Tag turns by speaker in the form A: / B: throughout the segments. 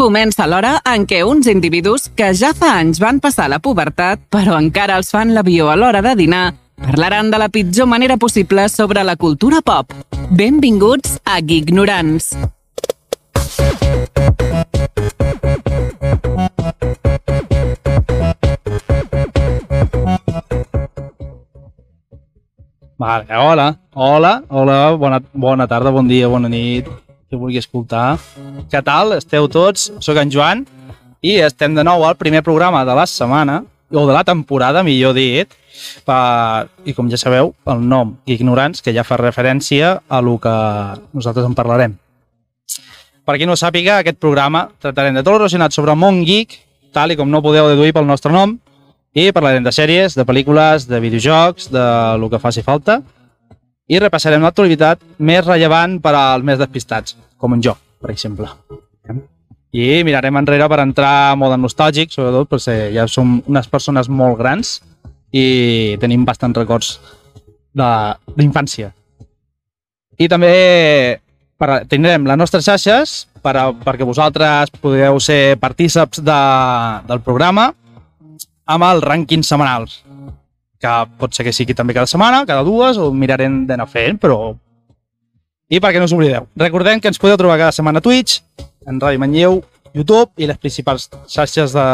A: Comença l'hora en què uns individus que ja fa anys van passar la pubertat, però encara els fan l'avió a l'hora de dinar, parlaran de la pitjor manera possible sobre la cultura pop. Benvinguts a Gignorants.
B: Vale, eh, hola, hola, hola, bona, bona tarda, bon dia, bona nit, que vulgui escoltar. Què tal? Esteu tots? Soc en Joan i estem de nou al primer programa de la setmana, o de la temporada, millor dit, per, i com ja sabeu, el nom Ignorants, que ja fa referència a lo que nosaltres en parlarem. Per qui no ho sàpiga, aquest programa tractarem de tot el relacionat sobre el món geek, tal i com no podeu deduir pel nostre nom, i parlarem de sèries, de pel·lícules, de videojocs, de lo que faci falta. I repassarem l'actualitat més rellevant per als més despistats, com en jo, per exemple. I mirarem enrere per entrar en mode nostàlgic, sobretot perquè ja som unes persones molt grans i tenim bastants records de d'infància. I també per, tindrem les nostres xarxes per, a- perquè vosaltres podeu ser partíceps de, del programa amb els rànquings setmanals que pot ser que sigui també cada setmana, cada dues, o mirarem d'anar fent, però... I perquè no us oblideu, recordem que ens podeu trobar cada setmana a Twitch, en Ràdio Manlleu, YouTube i les principals xarxes de,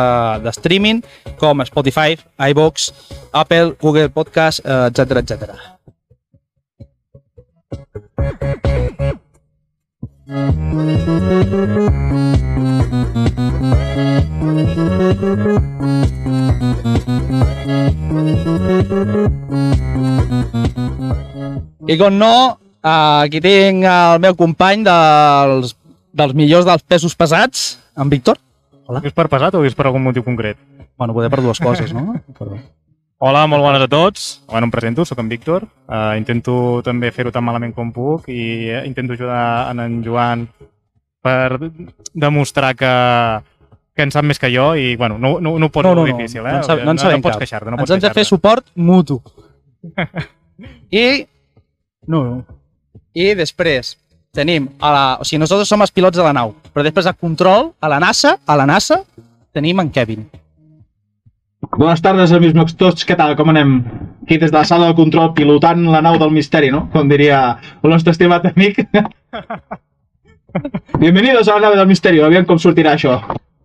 B: de streaming com Spotify, iVox, Apple, Google Podcast, eh, etc etc. I com no, eh, aquí tinc el meu company dels, dels millors dels pesos pesats, en Víctor.
C: Que és per pesat o que és per algun motiu concret?
B: Bueno, poder per dues coses, no? Perdó.
C: Hola, molt bones a tots. Bueno, em presento, sóc en Víctor. Uh, intento també fer-ho tan malament com puc i eh, intento ajudar en en Joan per demostrar que, que en sap més que jo i, bueno, no, no, no ho poso molt difícil, eh?
B: No en, sab, no en sabem
C: no pots
B: cap.
C: queixar-te, no
B: Ens
C: pots
B: hem de
C: queixar-te.
B: fer suport mutu. I... No, no. I després tenim a la... O sigui, nosaltres som els pilots de la nau, però després a control, a la NASA, a la NASA, tenim en Kevin.
D: Bones tardes, amics meus tots. Què tal? Com anem? Aquí des de la sala de control pilotant la nau del misteri, no? Com diria el nostre estimat amic. Bienvenidos a la nave del misteri. Aviam com sortirà això.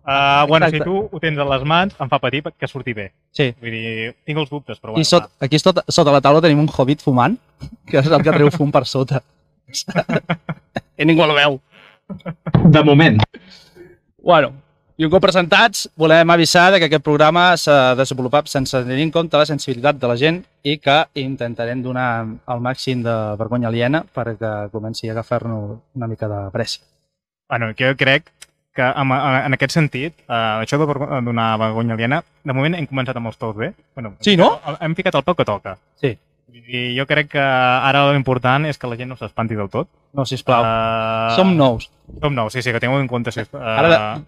C: Uh, bueno,
B: Exacte.
C: si tu ho tens a les mans, em fa patir que surti bé.
B: Sí.
C: Vull dir, tinc els dubtes, però
B: Bueno, I
C: bueno,
B: sot, aquí sota, sota la taula tenim un hobbit fumant, que és el que treu fum per sota. I ningú el veu.
D: De moment.
B: Bueno, i un cop presentats, volem avisar de que aquest programa s'ha desenvolupat sense tenir en compte la sensibilitat de la gent i que intentarem donar el màxim de vergonya aliena perquè comenci a agafar-nos una mica de pressi.
C: Bueno, que jo crec que en, en aquest sentit, eh, això de vergo- donar vergonya aliena, de moment hem començat amb els tots bé. Bueno,
B: Sí, no?
C: el- Hem ficat el peu que toca.
B: Sí.
C: I jo crec que ara l'important és que la gent no s'espanti del tot.
B: No, sisplau.
C: Uh,
B: Uh... Som nous.
C: Som nous, sí, sí, que tingueu en compte. Si, uh,
B: Ara
C: ara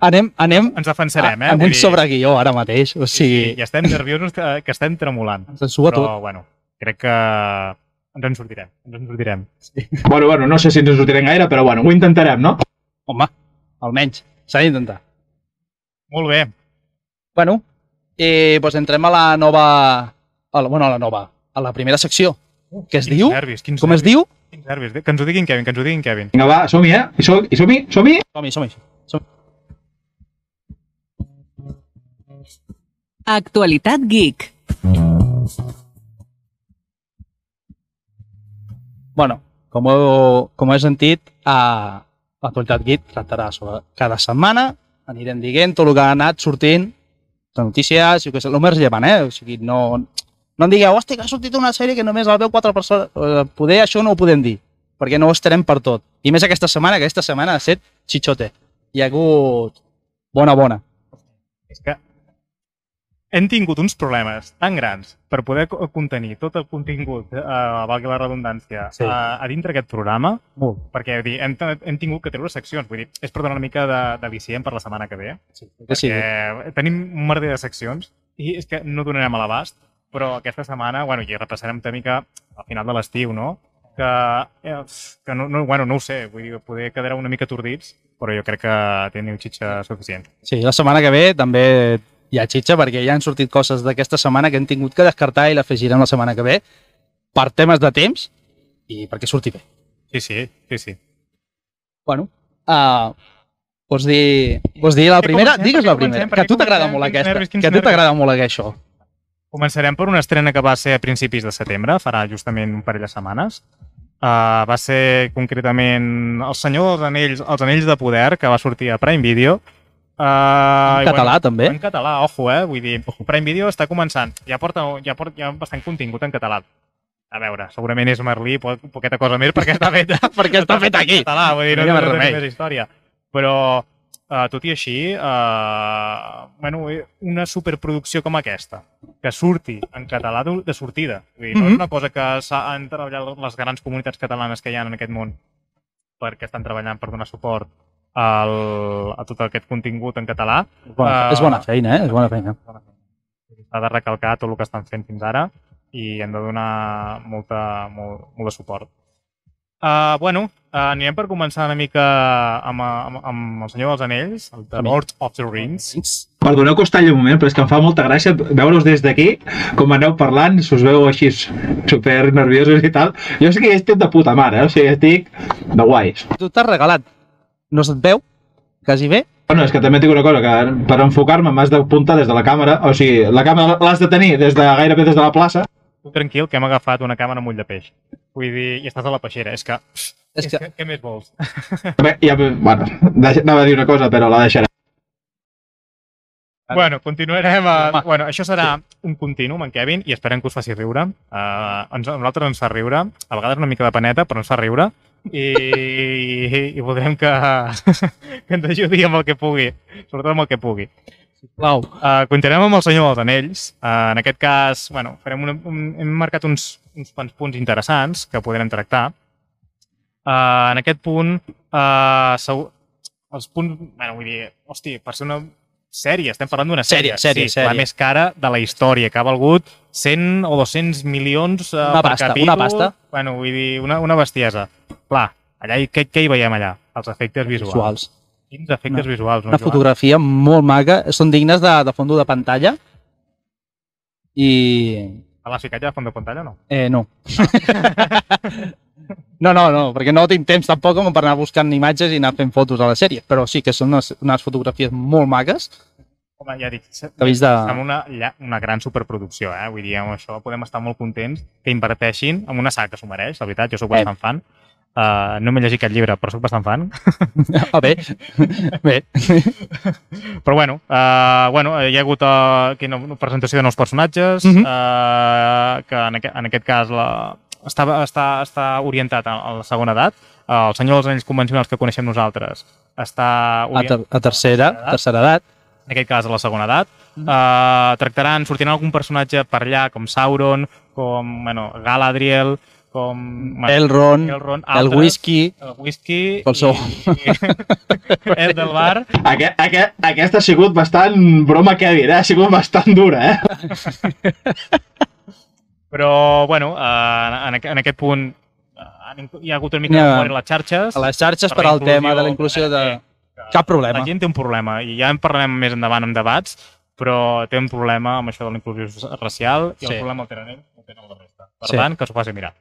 B: Anem, anem
C: Ens defensarem, eh?
B: a, amb
C: Vull
B: un
C: dir,
B: sobreguió ara mateix. O sigui,
C: I estem nerviosos que, que estem tremolant.
B: se'n suba tot.
C: Però, bueno, crec que ens en sortirem. Ens en sortirem.
D: Bueno, bueno, no sé si ens en sortirem gaire, però bueno, ho intentarem, no?
B: Home, almenys. S'ha d'intentar.
C: Molt bé.
B: Bueno, i doncs entrem a la nova... A la, bueno, a la nova. A la primera secció. Què es
C: Quins
B: diu?
C: Nervis, quins
B: Com es diu?
C: nervis, Quins nervis. Que ens ho diguin Kevin, que ens ho diguin Kevin.
D: Vinga, va, som-hi, eh? I som- i som-hi, som-hi!
B: Som-hi, som-hi. Som
A: Actualitat Geek.
B: Bueno, com heu, com heu sentit, a l'actualitat Git tractarà sobre cada setmana, anirem dient tot el que ha anat sortint, de notícies, jo que sé, el més rellevant, eh? O sigui, no, no em digueu, hòstia, que ha sortit una sèrie que només la veu quatre persones. Eh, Poder això no ho podem dir, perquè no ho estarem per tot. I més aquesta setmana, que aquesta setmana ha set xitxote. Hi ha hagut bona, bona.
C: És que hem tingut uns problemes tan grans per poder co- contenir tot el contingut, eh, valgui la redundància,
B: Sí.
C: sí. a, a dintre aquest programa,
B: Molt.
C: perquè vull dir, hem, t- hem tingut que treure seccions. Vull dir, és per donar una mica de- d'al·licient per la setmana que ve,
B: Sí,
C: perquè
B: sí.
C: tenim un merder de seccions i és que no donarem a l'abast, però aquesta setmana, bueno, i repassarem una mica al final de l'estiu, no? Que, eh, que no, no, bueno, no ho sé, vull dir, poder quedarà una mica atordits però jo crec que teniu xitxa suficient.
B: Sí, la setmana que ve també hi ha xitxa perquè ja han sortit coses d'aquesta setmana que hem tingut que descartar i l'afegirem la setmana que ve per temes de temps i perquè surti bé.
C: Sí, sí, sí, sí.
B: Bueno, uh, vols, dir, vols dir la
C: Per què
B: primera?
C: comencem?
B: Digues
C: Per
B: la
C: què
B: primera,
C: comencem? Per
B: que a
C: què
B: tu t'agrada
C: comencem?
B: molt
C: Quins
B: aquesta,
C: nervis, quins
B: que a tu
C: nervis.
B: t'agrada molt això.
C: Començarem per una estrena que va ser a principis de setembre, farà justament un parell de setmanes. Uh, va ser concretament El senyor dels anells, els anells de poder, que va sortir a Prime Video.
B: En
C: Uh,
B: català, també.
C: En català, ojo, eh? Vull dir, Prime Video està començant. Ja porta, ja porta ja bastant contingut en català. A veure, segurament és Merlí, po poqueta cosa més, perquè està fet,
B: Perquè està fet aquí.
C: En català, vull dir, no,
B: No hi ha
C: no,
B: més
C: no,
B: remei.
C: té més història. Però, uh, tot i així, uh, bueno, una superproducció com aquesta, que surti en català de, de sortida. Vull dir, no
B: Mhm.
C: és una cosa que s'han treballat les grans comunitats catalanes que hi ha en aquest món perquè estan treballant per donar suport al, a tot aquest contingut en català.
B: És bona,
C: Ah.
B: és bona feina, eh? És bona feina.
C: S'ha de recalcar tot el que estan fent fins ara i hem de donar molta, molt, molt de suport. Uh, bueno, uh, anirem per començar una mica amb, amb, amb el Senyor dels Anells, el The Lord of the Rings.
D: Perdoneu que us talli un moment, però és que em fa molta gràcia veure-us des d'aquí, com aneu parlant, us veu així super nerviosos i tal. Jo sé que ja estic de puta mare, eh? o sigui, estic de guais.
B: Tu t'has regalat. No se't veu? Quasi bé?
D: Bueno, és que també tinc una cosa, que per enfocar-me m'has d'apuntar des de la càmera, o sigui, la càmera l'has de tenir des de gairebé des de la plaça.
C: Tu tranquil, que hem agafat una càmera amb ull de peix. Vull dir, i estàs a la peixera. És que,
B: És que
C: què més vols?
D: Bé, ja, bueno, deixa, anava a dir una cosa, però la deixaré.
B: Ara.
C: Bueno, continuarem. A...
B: Home.
C: Bueno, això serà un contínuum en Kevin i esperem que us faci riure. Uh, ens, a nosaltres ens fa riure, a vegades una mica de paneta, però ens fa riure. I, i, i voldrem que, que ens ajudi amb el que pugui, sobretot amb el que pugui.
B: Sisplau.
C: Uh, continuem amb el Senyor dels Anells. Uh, en aquest cas, bueno, farem una, un, hem marcat uns, uns quants punts interessants que podrem tractar. Uh, en aquest punt, uh, segur, els punts... Bueno, vull dir, hosti, per ser una sèrie, estem parlant d'una sèrie.
B: Sèrie, sèrie,
C: sí,
B: sèrie.
C: La més cara de la història, que ha valgut 100 o 200 milions uh,
B: Una
C: per
B: pasta,
C: capítol.
B: una pasta.
C: Bueno, vull dir, una, una bestiesa. Clar, allà, hi- què, què hi veiem allà? Els efectes visuals.
B: Visuals.
C: Quins efectes
B: Una-
C: visuals, no,
B: Una
C: Joan?
B: fotografia molt maca. Són dignes de, de fondo de pantalla. I...
C: Te l'has ficat ja a fons de pantalla o no?
B: Eh, no. No, no, no, perquè no tinc temps tampoc com per anar buscant imatges i anar fent fotos a la sèrie, però sí que són unes, unes fotografies molt maques
C: Home, ja dic, se-
B: que veig de...
C: amb una, lla- una gran superproducció, eh? Vull dir, amb això podem estar molt contents que inverteixin en una saga que s'ho mereix, la veritat, jo sóc
B: Eh.
C: bastant fan. Uh, no m'he llegit aquest llibre, però sóc bastant fan.
B: Ah, bé, bé.
C: Però bueno, uh, bueno eh, hi ha hagut uh, aquí una una presentació de nous personatges,
B: Mhm.
C: uh, que en, aquest, en aquest cas la, està, està, està orientat a, a la segona edat. Uh, el senyor dels anells convencionals que coneixem nosaltres està
B: A, ter
C: orientat
B: a tercera, tercera edat.
C: en aquest cas a la segona edat.
B: Mm-hmm.
C: Uh, tractaran, sortiran algun personatge per allà, com Sauron, com bueno, Galadriel, com
B: Elrond,
C: Elrond
B: el
C: altres,
B: whisky,
C: el whisky
B: El seu.
C: i, i Edelbar.
D: Aquest, aquest, aquesta ha sigut bastant broma que eh? ha sigut bastant dura, eh?
C: Però, bueno, uh, en, aqu- en aquest punt eh, han inclu- hi ha hagut una mica
B: Ja.
C: de memòria a les xarxes.
B: a les xarxes per
C: la
B: al tema de la
C: inclusió,
B: inclusió de...
C: eh, que
B: Cap
C: La
B: problema.
C: gent té un problema, i ja en parlarem més endavant en debats, però té un problema amb això de la inclusió racial i sí.
B: Sí.
C: el problema el tenen ells, no tenen la resta. Per
B: Sí.
C: sí. tant, que s'ho faci mirar.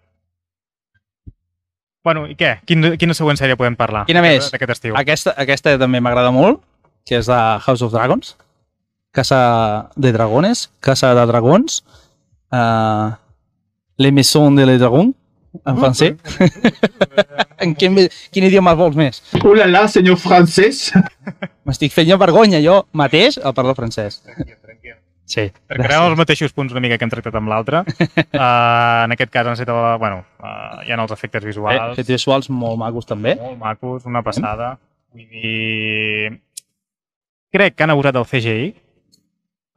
C: Bueno, i què? Quina, quina següent sèrie podem parlar?
B: Quina Ah, més?
C: D'aquest estiu.
B: Aquesta, aquesta també m'agrada molt, que és de House of Dragons, Casa de Dragones, Casa de Dragons, uh, Les Maisons de les Dragons,
C: Ah,
B: en francès. en quin, quin idioma vols més?
D: Ulala, senyor francès.
B: M'estic fent jo vergonya, jo mateix, al parlar francès.
C: Tranquil, tranquil.
B: Sí, Eh,
C: Tractarem els mateixos punts una mica que hem tractat amb l'altre. Uh, en aquest cas, necessitava, bueno, uh, hi ha els efectes
B: Eh,
C: visuals,
B: fets visuals molt macos també.
C: molt macos, una passada. Vull dir... Crec que han abusat del CGI.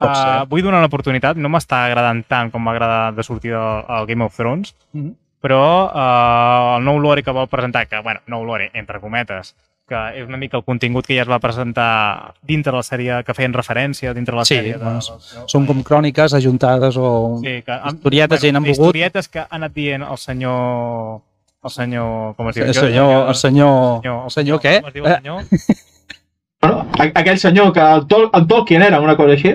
B: Pot ser.
C: Uh, vull donar una oportunitat. No m'està agradant tant com m'agrada de sortir del al Game of Thrones,
B: Mhm.
C: però uh, el nou lore que vol presentar, que, bueno, nou lore, entre cometes, que és una mica el contingut que ja es va presentar dintre la sèrie que feien referència, dintre la
B: Sí, doncs,
C: sèrie... De,
B: bueno, Són com cròniques ajuntades o...
C: Sí, que,
B: Historietes i n'han volgut.
C: Historietes que ha anat dient el senyor El senyor... Com es diu?
B: El senyor, el senyor... El senyor què?
C: Com es diu el
B: Eh,
C: senyor?
D: Bueno, a- aquell senyor que el, Tol el Tolkien era una cosa així,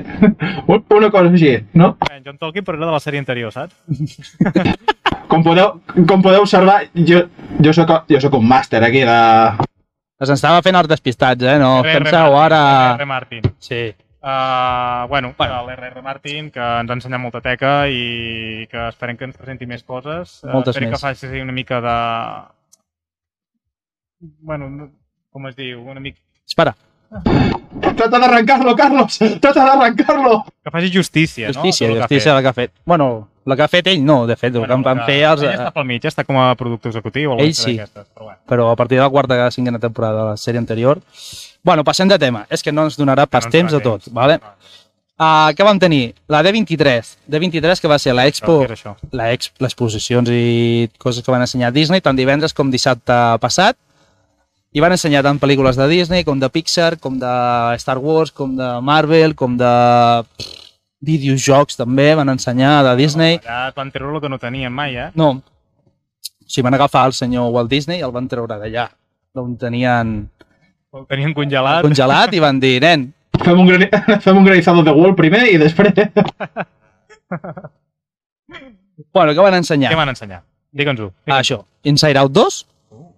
D: una cosa així, no?
C: Eh, John Tolkien, però era de la sèrie anterior, saps?
D: Com podeu, com podeu observar, jo, jo, sóc, jo sóc un màster aquí de...
B: Ens estava fent els despistats, eh? No,
C: R.R.
B: penseu
C: Martin,
B: ara...
C: R.R. Martin.
B: Sí.
C: Uh, bueno, bueno. l'R.R. Martin, que ens ha ensenyat molta teca i que esperem que ens presenti més coses. Eh,
B: Moltes
C: esperem
B: més.
C: que faci una mica de... Bueno, no- com es diu? Una mica...
B: Espera.
D: Trata d'arrencar-lo, Carlos! Trata d'arrencar-lo!
C: Que faci justícia,
B: Justícia,
C: no? Del que ha
B: justícia
C: fet.
B: la que ha fet. Bueno, la que ha fet ell no, de fet, el que en van fer els... eh,
C: Ell està pel mig, està com a productor executiu o alguna
B: Ell
C: cosa
B: sí.
C: d'aquestes, però bueno.
B: Però a partir de la quarta o cinquena temporada de la sèrie anterior... Bueno, passem de tema. És que no ens donarà pas
C: ens Ah.
B: temps
C: donarà
B: de tot, vale? Uh, què vam tenir? La D23. D23 que va ser l'Expo...
C: Però què era això?
B: la ex- les exposicions i coses que van ensenyar a Disney, tant divendres com dissabte passat, i van ensenyar tant pel·lícules de Disney, com de Pixar, com de Star Wars, com de Marvel, com de pff, videojocs també, van ensenyar de Disney.
C: Allà et van treure el que no tenien mai, eh?
B: No, si van agafar el senyor Walt Disney i el van treure d'allà, d'on tenien
C: Ho tenien congelat.
B: congelat i van dir, nen,
D: Fem un, grani... Fem un granizado de Wall primer i després...
B: bueno, què van ensenyar?
C: Què van ensenyar? Digue'ns-ho.
B: Ah, això, Inside Out 2,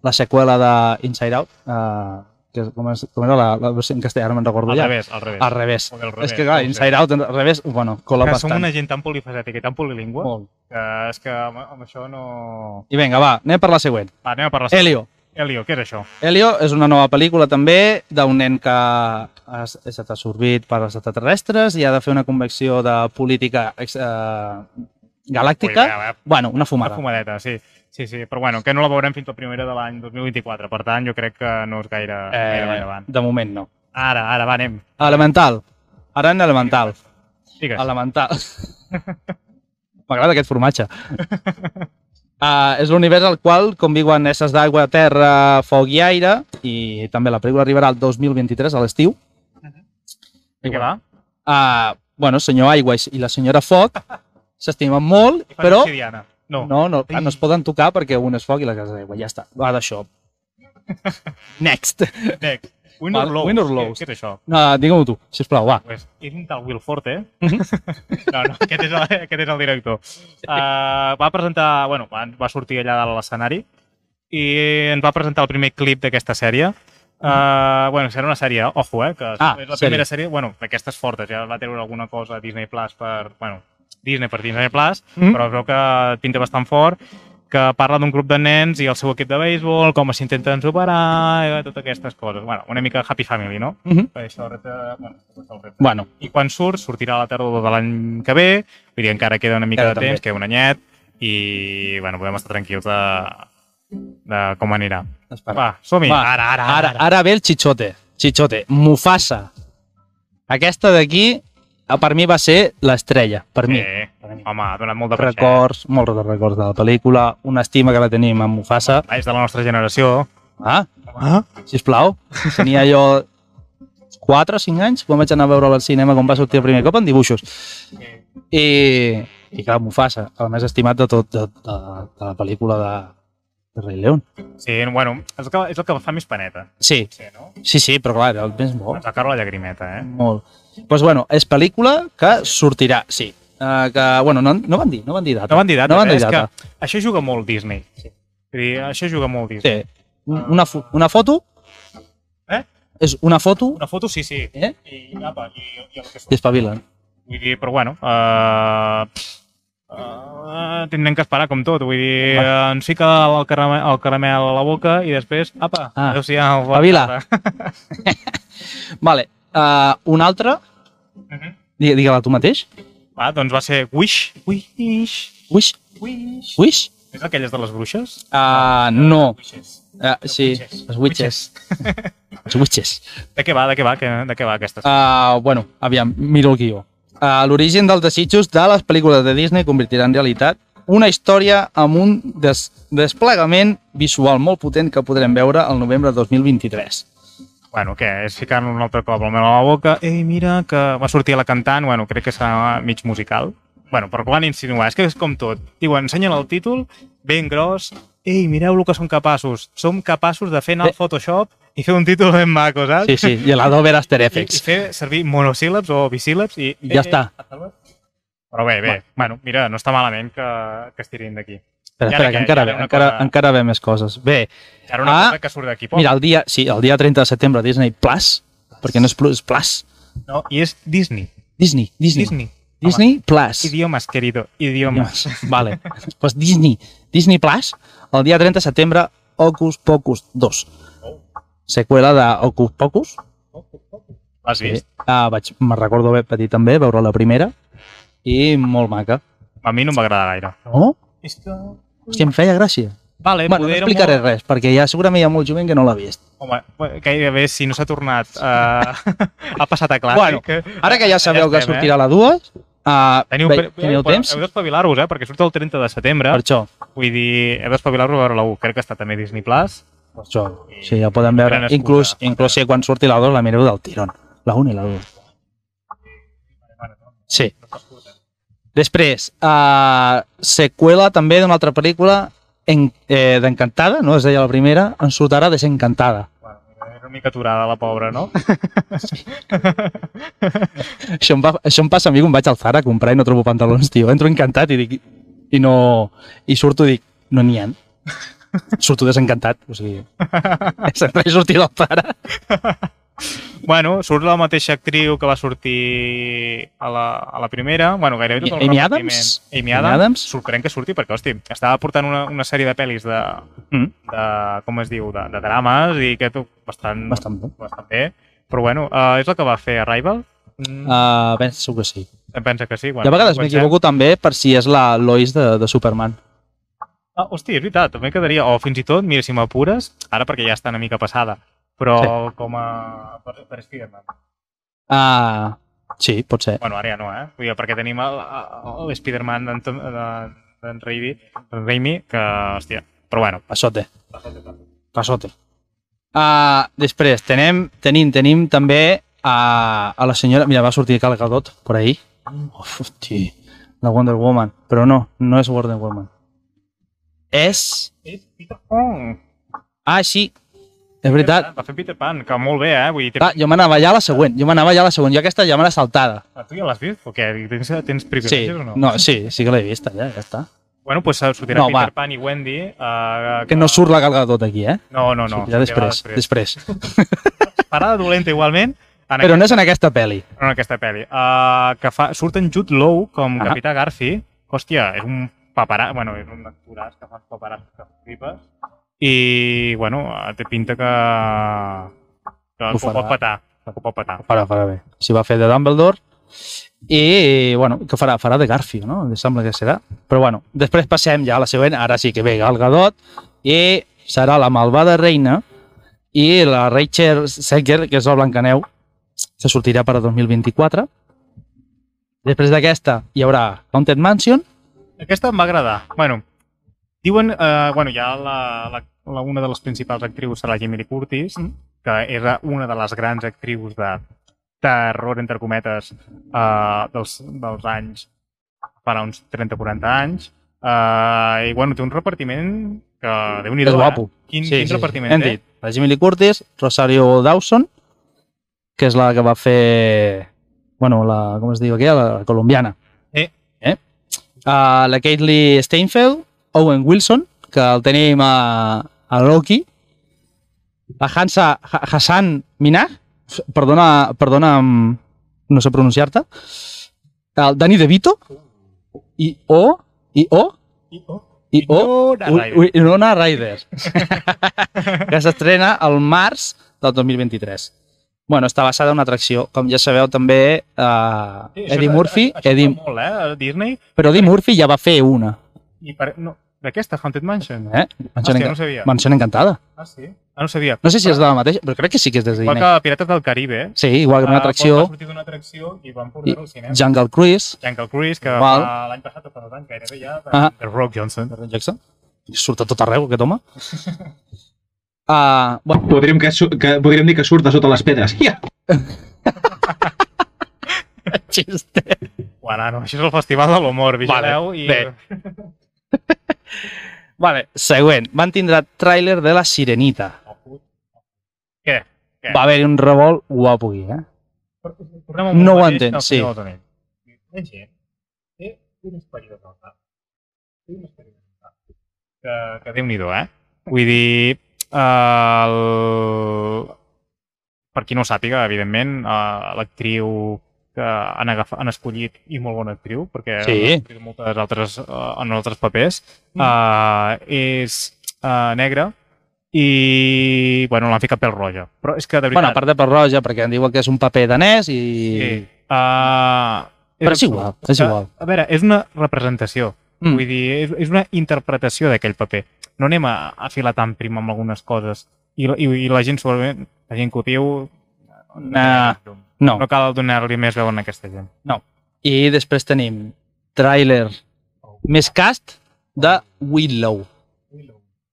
B: la seqüela de Inside Out, uh, que és- com, és, com era la, la versió en castellà, no me'n recordo
C: Al
B: ja.
C: revés, al revés.
B: Al revés.
C: Joder, al
B: És
C: revés,
B: que clar,
C: no ho sé.
B: Inside Out al revés, bueno, cola
C: que som
B: bastant.
C: una gent tan polifacètica i tan polilingüe
B: Molt.
C: que és que amb, amb això no...
B: I vinga, va, anem per la següent.
C: Va, anem a parlar...
B: Helio.
C: Helio, què és això?
B: Helio és una nova pel·lícula també d'un nen que ha es- ha estat absorbit per els extraterrestres i ha de fer una convecció de política ex, eh, galàctica.
C: Ui, va, va.
B: Bueno, una
C: Una
B: fumada.
C: fumadeta, sí. Sí, sí, però bueno, que no la veurem fins la primera de l'any 2024, per tant, jo crec que no és gaire, eh... gaire
B: Eh,
C: gaire avant.
B: de moment no.
C: Ara, ara, va, anem.
B: Elemental. Ara en Elemental.
C: Digues.
B: Elemental. M'agrada aquest formatge. Uh, és l'univers al qual conviuen éssers d'aigua, terra, foc i aire i també la pel·lícula arribarà al 2023 a l'estiu.
C: I què va?
B: Uh, bueno, senyor Aigua i- i la senyora Foc s'estimen molt,
C: Fan
B: però
C: obsidiana. No. no.
B: no, no, clar, no es poden tocar perquè un és foc i la casa d'aigua. Ja està, va d'això. Next.
C: Next. Winner
B: Vale,
C: Lows.
B: Win or Lose.
C: Què, què és això?
B: No, digue-m'ho tu, sisplau, va.
C: Pues, és un tal Will Forte.
B: Mhm.
C: no, no, aquest és el, aquest és el director. Uh, va presentar, bueno, va, va sortir allà de l'escenari i ens va presentar el primer clip d'aquesta sèrie. Uh, bueno, serà una sèrie, ojo, eh, que
B: Mhm. Ah,
C: és la
B: sèrie.
C: primera sèrie, bueno, d'aquestes fortes, ja va treure alguna cosa a Disney Plus per, bueno, Disney per Disney Plus,
B: Mhm.
C: però es veu que pinta bastant fort, que parla d'un grup de nens i el seu equip de béisbol, com s'intenten superar, eh, totes aquestes coses. Bueno, una mica Happy Family, no?
B: Uh -huh.
C: Per això el repte, bueno, és el repte
B: Bueno,
C: i quan surt, sortirà a la tardor de l'any que ve, vull dir, encara queda una mica
B: Queda
C: de
B: també.
C: temps, queda un anyet, i, bueno, podem estar tranquils de, de com anirà.
B: espera.
C: Va, som-hi!
B: Va,
C: Ara, ara,
B: ara,
C: ara! ara.
B: ara ve el Chichote. Chichote, Mufasa. Aquesta d'aquí, eh, per mi va ser l'estrella, per mi.
C: Eh, home, ha donat molt de reixer.
B: Records, molts de records de la pel·lícula, una estima que la tenim amb Mufasa.
C: És de la nostra generació.
B: Ah,
C: Ah?
B: sisplau, tenia jo 4 o 5 anys quan vaig anar a veure al cinema quan va sortir el primer cop en dibuixos. I, i clar, Mufasa, el més estimat de tot, de, de, de la pel·lícula de, de Rei León.
C: Sí, bueno, és el que, és el que fa més peneta.
B: Sí,
C: Sí, no?
B: sí, sí, però clar, era el més bo.
C: Ens va caure la llagrimeta, eh?
B: Molt. Doncs pues bueno, és pel·lícula que sortirà, sí. Uh, que, bueno, no, no van dir, no van dir data.
C: No van dir data,
B: No van
C: eh?
B: dir
C: És que
B: data.
C: Això juga molt Disney. Sí. Vull dir, això juga molt Disney.
B: Sí. Un- Una, fo- una foto.
C: Eh?
B: És una foto
C: Una foto, sí, sí.
B: eh?
C: I, apa, i, i el que
B: i espavilen.
C: Vull dir, però bueno, uh, uh, tindrem que esperar com tot. Vull dir, eh, ens fica el caramel, el caramel a la boca i després, apa,
B: Ah,
C: ah, adéu-siau. bona
B: espavila.
C: tarda.
B: Vale. Uh, una altra.
C: Mhm.
B: Digue- Digue-la tu mateix.
C: Va, doncs va ser Wish. Wish.
B: Wish?
C: Wish.
B: Wish?
C: És aquelles de les bruixes?
B: Uh, no.
C: Wishes.
B: Uh, sí,
C: Witches.
B: els witches. Els witches.
C: De què va, de què va, que, de què va aquesta? Ah.
B: Uh, bueno, aviam, miro el guió. Uh, L'origen dels desitjos de les pel·lícules de Disney convertirà en realitat una història amb un des desplegament visual molt potent que podrem veure el novembre de 2023.
C: Bueno, què, és ficar un altre cop el mel a la boca. Ei, mira, que va sortir la cantant, bueno, crec que serà mig musical. Bueno, però ho van insinuar, és que és com tot. Diuen, ensenyen el títol, ben gros, ei, mireu el que som capaços. Som capaços de fer anar al Photoshop i fer un títol ben maco, saps?
B: Eh. Sí, sí, i l'Adobe era After
C: I, I
B: Effects.
C: fer servir monosíl·labs o bisíl·labs i...
B: Ja està.
C: Però bé, bé, bueno, mira, no està malament que, que es tirin d'aquí.
B: Espera,
C: I ara
B: espera,
C: què?
B: que encara,
C: Ara
B: ve,
C: una
B: encara,
C: cosa-
B: encara ve més coses. Bé,
C: Ara una
B: Ah,
C: cosa que surt d'aquí poc.
B: mira, el dia, sí, el dia 30 de setembre Disney Plus, perquè no és Plus, és Plus.
C: No, I és Disney.
B: Disney, Disney. Disney,
C: Disney.
B: Disney Plus.
C: Home, idiomes, querido. Idiomes.
B: Vale. pues Disney, Disney Plus, el dia 30 de setembre, Hocus Pocus 2. Seqüela de Hocus Pocus.
C: L'has
B: Sí.
C: vist?
B: Ah, vaig, me recordo haver patit també, veure la primera. I molt maca.
C: A mi no em va agradar gaire.
B: No? Eh,
C: És que...
B: Hòstia, em feia gràcia.
C: Vale,
B: bueno, no
C: poder era
B: explicaré res, perquè ja segurament hi ha molt jovent que no l'ha vist.
C: Home, gairebé si no s'ha tornat, uh, ha passat a
B: Bueno,
C: clàssic.
B: Ara que ja sabeu que
C: estem, eh?
B: sortirà la 2, uh,
C: Teniu,
B: ve, eh? teniu
C: heu,
B: temps?
C: Heu d'espavilar-vos, eh? Perquè surt el 30 de setembre.
B: Per això,
C: Vull dir, heu d'espavilar-vos a veure la 1. Crec que està també a Disney Plus.
B: per això. Sí, ja poden veure.
C: Gran excusa.
B: Inclús, inclús si quan surti la 2 la mireu del tirón. La 1 i la 2. Sí. Després, uh, seqüela també d'una altra pel·lícula en, eh, d'Encantada, no? Es deia la primera, en sortirà Desencantada.
C: Bueno, era una mica aturada, la pobra, no?
B: Això em, va, això em passa a mi quan vaig al Zara a comprar i no trobo pantalons, tio. Entro encantat i dic... I no... I surto i dic, no n'hi ha. Surto desencantat, o sigui... Sempre he sortit del Zara.
C: bueno, surt la mateixa actriu que va sortir a la, a la primera. Bueno, gairebé tot el
B: Amy
C: repartiment.
B: Adams?
C: Amy
B: Amy
C: Adams.
B: Adams?
C: Sorprèn que surti perquè, hòstia, estava portant una, una sèrie de pel·lis de,
B: Mm.
C: de, com es diu, de, de drames i que tu, bastant,
B: Bastant bé.
C: bastant bé. Però bueno, uh, és el que va fer Arrival? Mm,
B: Uh, penso que sí.
C: Em pensa que sí.
B: Bueno,
C: Bueno,
B: de vegades
C: quan
B: m'equivoco també per si és la Lois de, de Superman.
C: sent- Ah, hòstia, és veritat, també quedaria... O fins i tot, mira, si m'apures, ara perquè ja està una mica passada, però sí. com a... per, per Spider-Man.
B: Uh, sí, pot ser.
C: Bueno, ara ja no, eh? Vull dir, perquè tenim el, el Spider-Man d'en Tom- d'en- d'en Raimi, d'en Raimi, que, hòstia, però bueno.
B: Passote. Passote. Uh, després, tenim, tenim, tenim també a, a la senyora... Mira, va sortir Cal Gadot per ahir. Uf, hosti, la Wonder Woman. Però no, no és Wonder Woman. És...
C: És Peter Pan.
B: Ah, sí, és veritat.
C: Va fer Peter Pan, que molt bé, eh? Vull dir, té...
B: Ah, jo m'anava ja a la següent, jo m'anava ja a la següent. Jo aquesta ja me l'he saltada.
C: Ah, tu ja l'has vist? O què? Tens, tens
B: Sí,
C: privilegis o no?
B: no, sí, sí que l'he vista, ja, ja està.
C: Bueno, doncs pues, sortirà
B: No,
C: no, Peter
B: va.
C: Pan i Wendy. Uh,
B: Que no surt la Gal Gadot aquí, eh?
C: No, no, no.
B: ja
C: sortirà
B: després, després.
C: Farà de dolenta igualment. En
B: Però
C: aquest,
B: no és en aquesta pel·li.
C: no en aquesta pel·li. Uh, que fa, surt en Jude Law com
B: Ah.
C: ah. Capità Garfi. Hòstia, és un paperà... Bueno, és un actoràs que fa uns paperassos que flipes. I, bueno, eh, té pinta que... que
B: Ho
C: ho, pot
B: farà.
C: petar. Que ho pot petar.
B: Farà, farà bé. Si va fer de Dumbledore i, bueno, que farà? Farà de Garfio, no? Em sembla que serà. Però bueno, després passem ja a la següent. Ara sí que ve Gal Gadot i serà la malvada reina i la Rachel Segger, que és el Blancaneu, que sortirà per a 2024. Després d'aquesta hi haurà Haunted Mansion.
C: Aquesta em va agradar. Bueno, diuen... Eh, bueno, ja la, la, la, una de les principals actrius serà Jamie Lee Curtis, mm. que era una de les grans actrius de terror, entre cometes, eh, dels, dels anys per a uns 30-40 anys. Eh, I, bueno, té un repartiment que... Déu-n'hi-do,
B: És guapo.
C: Eh? Quin, sí, quin sí, repartiment
B: Hem
C: té?
B: dit, la Jimmy Lee Curtis, Rosario Dawson, que és la que va fer... Bueno, la, com es diu aquella? La colombiana.
C: Eh.
B: eh? Uh, la Caitlyn Steinfeld, Owen Wilson, que el tenim a, a Loki, la Hansa Ha- Hassan Minaj, perdona, perdona, mm, no sé pronunciar-te, el Dani De Vito, i O, i O,
C: oh,
B: i O,
C: Winona
B: Ui-
C: Ryder.
B: Ui- Winona Ryder. que s'estrena al març del 2023. Bueno, està basada en una atracció. Com ja sabeu, també eh,
C: Sí, això-
B: Eddie Murphy...
C: Això, això
B: Eddie,
C: fa molt, eh, a Disney.
B: però Eddie Murphy ja va fer una.
C: I per, no, d'aquesta, Haunted Mansion.
B: Eh? Mansió,
C: Hòstia, no
B: enca
C: ho sabia.
B: Mansió encantada.
C: Ah, sí? Ah, no ho sabia.
B: No sé si és de la mateixa, però crec que sí que és de
C: Igual
B: Disney.
C: que Pirates del Caribe, eh?
B: Sí, igual que una atracció.
C: Va sortir d'una atracció i van
B: I
C: portar-ho al cinema. Ja.
B: Jungle Cruise.
C: Jungle Cruise, que
B: Val.
C: fa l'any passat o fa dos anys gairebé ja, de,
B: Ah.
C: de Rock Johnson.
B: Jackson. Surt a tot arreu, aquest home. Uh, bueno,
D: Podríem, que, su- que, podríem dir que surt de sota les pedres. Ja!
B: xiste.
C: Bueno, no, això és el Festival de l'Humor, vigileu.
B: Vale,
C: i...
B: bé. Vale, següent. Van tindre tràiler de La Sirenita.
C: Oh, Què? Què?
B: Va haver-hi un revolt guapo aquí, eh?
C: Tornem
B: No ho entenc, sí.
C: No ho entenc. La gent té un esperit de falta. Té un esperit de falta. Que, que Déu-n'hi-do, eh? Vull dir, el... per qui no ho sàpiga, evidentment, eh, l'actriu que han, agafat, han escollit i molt bona actriu, perquè
B: Sí. Mm.
C: han escollit moltes altres, eh, en altres papers, eh, és eh, negra i, bueno, l'han ficat pèl roja. Però és que, de
B: Bueno,
C: veritat...
B: a part de per roja, perquè em diuen que és un paper danès i...
C: Sí. Uh,
B: Ah, Però és igual, és igual.
C: Eh, A veure, és una representació.
B: Mm.
C: Mm. Vull dir, és, és una interpretació d'aquell paper. No anem a, a filar tan prim amb algunes coses. I, la- i, i la gent, segurament, la gent que ho diu...
B: Nah, No.
C: No cal donar-li més veu a aquesta gent.
B: I després tenim tràiler més cast de Willow.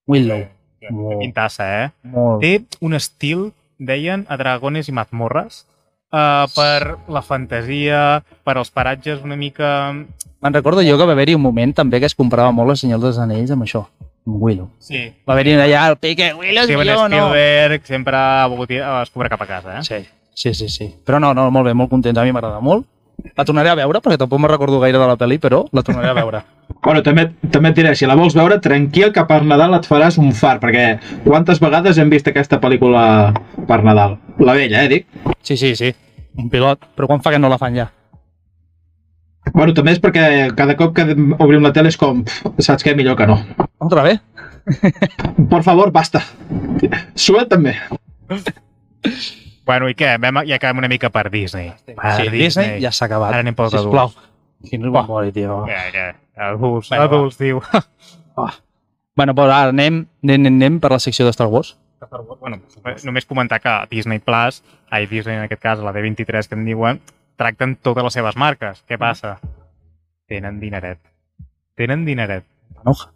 B: Willow. Wow.
C: Wow. Pintassa, eh?
B: Molt.
C: Té un estil, deien, a dragones i mazmorres, uh, per la fantasia, per als paratges una mica...
B: Me'n recordo jo que va haver-hi un moment també que es comprava molt el Senyor dels Anells amb això, amb Willow.
C: Sí,
B: Va haver-hi allà el pique, Willow és
C: Steven
B: millor o no?
C: Spielberg sempre ha volgut ir a descobrir cap a casa, eh?
B: Sí, sí, sí, sí. Però no, no, molt bé, molt contents, a mi m'agrada molt. La tornaré a veure, perquè tampoc me recordo gaire de la pel·li, però la tornaré a veure.
D: Bueno, també, també et diré, si la vols veure, tranquil, que per Nadal et faràs un far, perquè quantes vegades hem vist aquesta pel·lícula per Nadal? La vella, eh, dic.
B: Sí, sí, sí. Un pilot. Però quan fa que no la fan ja?
D: Bueno, també és perquè cada cop que obrim la tele és com, "Pf, saps què, millor que no.
B: Otra vez?
D: Por favor, basta. Sua també.
C: Bueno, i què? Vam, ja acabem una mica per Disney. Per
B: sí, Disney ja s'ha acabat.
C: Ara anem pels
B: Sisplau.
C: adults.
B: Quin rumori, tio.
C: Ja, ja. Adults,
B: Bueno,
C: bueno, adults, diu.
B: Bueno, però ara anem, anem, anem, anem per la secció de Star Wars.
C: bueno, només comentar que Disney Plus, ai, Disney en aquest cas, la D23 que en diuen, tracten totes les seves marques. Què passa? Tenen dineret. Tenen dineret.
B: Panoja.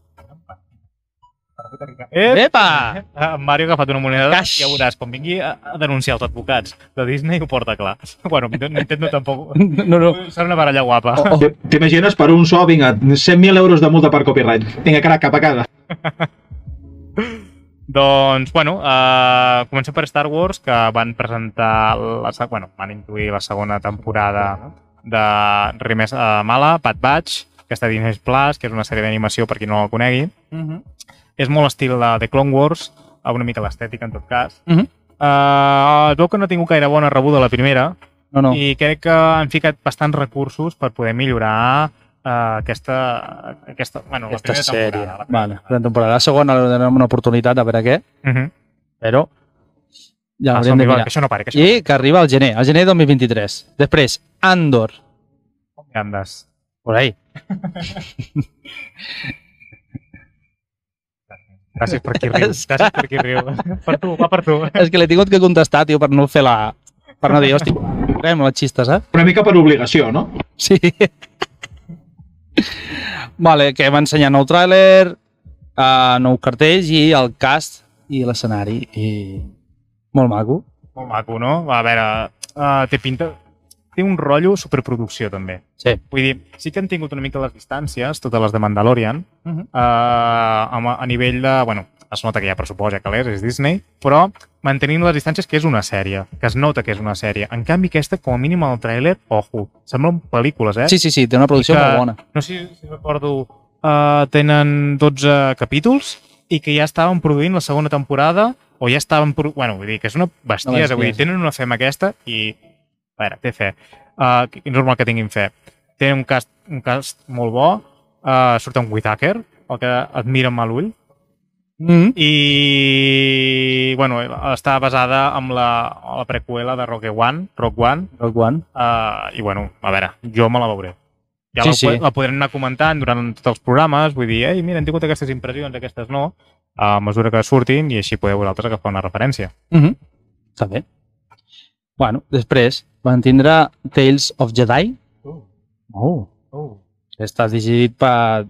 C: Eh?
B: Epa!
C: En Mario ha agafat una moneda
B: Cash.
C: Cash. i ja veuràs, quan vingui a, a denunciar els advocats de Disney ho porta clar. Bueno, Nintendo tampoc...
B: No, no.
C: Serà una baralla guapa.
B: Oh, oh.
D: T'imagines per un so, vinga, 100.000 euros de multa per copyright. Vinga, crac, cap a casa.
C: Doncs, bueno, uh, comencem per Star Wars, que van presentar, la, se- bueno, van intuir la segona temporada de Rimes a Mala, Bad Batch, que està a Disney Plus, que és una sèrie d'animació per qui no la conegui.
B: Mhm.
C: És molt estil de, de Clone Wars, eh, una mica l'estètica en tot cas.
B: Mhm.
C: Uh, es veu que no ha tingut gaire bona rebuda la primera,
B: No, no.
C: i crec que han ficat bastants recursos per poder millorar eh, aquesta, aquesta, bueno,
B: Aquesta
C: la primera
B: sèrie.
C: temporada. La
B: Vale, la temporada segona li donem una oportunitat a veure què,
C: Uh -huh.
B: però ja
C: ah,
B: l'haurem
C: som
B: de
C: igual,
B: mirar.
C: que això no pare, que això
B: I que arriba al gener, al gener 2023. Després, Andor,
C: no pare. Andes.
B: por ahí.
C: Gràcies per qui riu. Gràcies per qui riu. Per tu, va per tu.
B: És que l'he tingut que contestar, tio, per no fer la... Per no dir, hòstia, fem la xista, saps?
D: Una mica per obligació, no?
B: Sí. Vale, que va ensenyar nou tràiler, uh, nou cartells i el cast i l'escenari. I... Molt maco.
C: Molt maco, no? Va, a veure, uh, té pinta... Té un rotllo superproducció, també.
B: Sí.
C: Vull dir, sí que han tingut una mica les distàncies, totes les de Mandalorian, uh
B: Mhm.
C: -huh. a, a nivell de... Bueno, es nota que hi ha pressupost, ja calés, és Disney, però mantenint les distàncies que és una sèrie, que es nota que és una sèrie. En canvi, aquesta, com a mínim, el tràiler, ojo, semblen pel·lícules, eh?
B: Sí, sí, sí, té una producció
C: I que-
B: molt bona.
C: no sé si recordo, uh, tenen 12 capítols i que ja estaven produint la segona temporada o ja estaven... Produ... Bueno, vull dir que és una
B: Una
C: bestiesa,
B: bestiesa.
C: vull dir, tenen una fe amb aquesta i... A veure, té fe. Uh, és normal que tinguin fe. Tenen un cast, un cast molt bo, uh, surt un Whitaker, el que et mira amb l'ull, Mm-hmm.
B: Mm -hmm.
C: i, bueno, està basada en la, en la prequela de Rogue One, Rogue One,
B: Rock One.
C: Uh, I bueno, a veure, jo me la veuré. Ja
B: Sí,
C: sí, la,
B: sí.
C: sí. la podrem anar comentant durant tots els programes, vull dir, ei, mira, hem tingut aquestes impressions, aquestes no, a mesura que surtin i així podeu vosaltres agafar una referència.
B: Mm -hmm. Està bé. Bueno, després van tindre Tales of Jedi.
C: Oh.
B: Oh.
C: Oh.
B: Està dirigit per,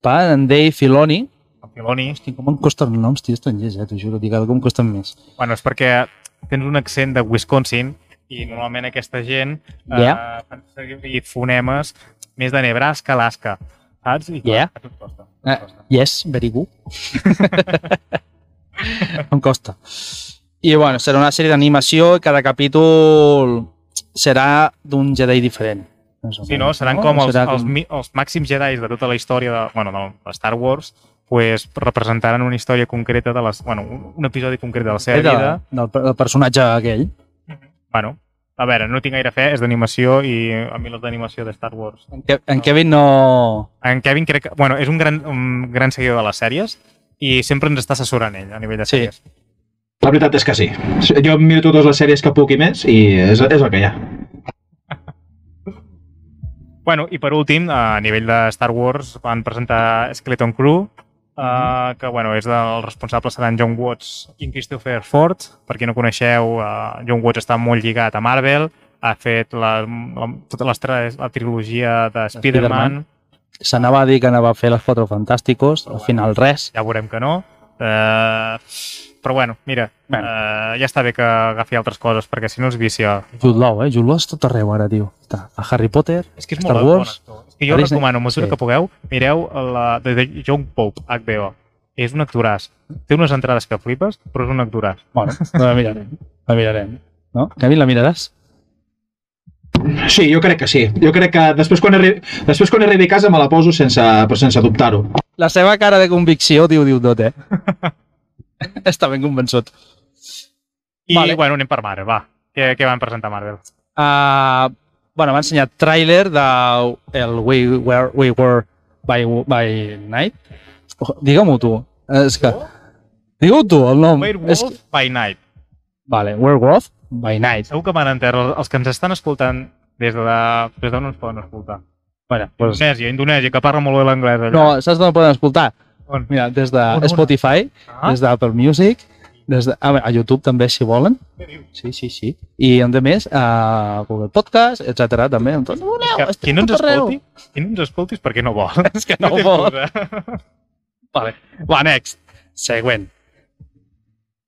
B: per en Dave Filoni.
C: Filoni,
B: Hosti, com em costen els noms, tio, estrangers, eh? T'ho juro, tio, cada cop em costen més.
C: bueno, és perquè tens un accent de Wisconsin i normalment aquesta gent
B: Yeah.
C: eh, fan servir fonemes més de Nebraska, Alaska. saps? I
B: Yeah.
C: a tu et costa.
B: Eh, yes, very good. em costa. I bueno, serà una sèrie d'animació i cada capítol serà d'un Jedi diferent.
C: Sí, no?
B: Oh,
C: Seran com els, els, mi- els màxims Jedi de tota la història de, bueno, de Star Wars, pues, representaran una història concreta de les... Bueno, un, un episodi concret de la seva
B: Era
C: vida.
B: del, del personatge aquell.
C: Bueno, a veure, no tinc gaire fe, és d'animació i a mi les d'animació de Star Wars.
B: En, Ke en Kevin no...
C: En Kevin crec que... Bueno, és un gran, un gran seguidor de les sèries i sempre ens està assessorant ell a nivell de
B: Sí.
C: sèries. Sí.
D: La veritat és que sí. Jo em miro totes les sèries que puc i més i és, és el que hi ha.
C: Bueno, i per últim, a nivell de Star Wars van presentar Skeleton Crew,
B: Mm-hmm.
C: Uh, que bueno, és del responsable seran John Watts i Christopher Ford per qui no coneixeu, uh, John Watts està molt lligat a Marvel ha fet la, la, tota les tres, la trilogia de Spider-Man,
B: Spider-Man. S'anava a dir que anava a fer les Quatre Fantàsticos, al final res.
C: ja veurem que no. Uh, però bueno, mira, bueno.
B: Bueno.
C: Uh, ja està bé que agafi altres coses, perquè si no es vicia...
B: Jude Law, eh? Jude Law és tot arreu ara, tio. Està a Harry Potter,
C: És que és
B: Star
C: molt bon
B: Wars...
C: actor. És que
B: a
C: jo
B: Disney.
C: recomano, a mesura
B: Sí.
C: que pugueu, mireu la de, de John Pope, HBO. És un actoràs. Té unes entrades que flipes, però és un actoràs.
B: Bueno, no la mirarem. La mirarem. No? Kevin, la miraràs?
D: Sí, jo crec que sí. Jo crec que després quan arribi, després quan arribi a casa me la poso sense, però sense dubtar-ho.
B: La seva cara de convicció diu, diu tot, eh? Està ben convençut.
C: I, vale.
B: Vale.
C: bueno, anem per Marvel, va. Què, què van presentar Marvel?
B: Uh, bueno, m'ha ensenyat tràiler de el We Were, We Were by, by Night. Oh, Digue-m'ho tu. És que... Digue-ho tu, el nom. Mm, És
C: Werewolf
B: que,
C: by Night.
B: vale, Werewolf by Night.
C: Segur que van entendre els que ens estan escoltant des de... des d'on ens poden escoltar.
B: Bueno, pues,
C: Indonèsia, Indonèsia, que parla molt bé l'anglès. allà.
B: no, saps d'on poden escoltar?
C: On?
B: Mira, des de
C: On, on?
B: Spotify,
C: Ah?
B: des d'Apple Music, des de, a, veure, a YouTube també, si volen. Sí, sí, sí. I, a més, a Google Podcast, etc també. Tot, voleu,
C: Que,
B: estem
C: qui no ens
B: tot arreu.
C: escolti, qui no ens escolti és perquè no vol.
B: És que no
C: té
B: vol.
C: excusa.
B: Vale. Va, next. Següent.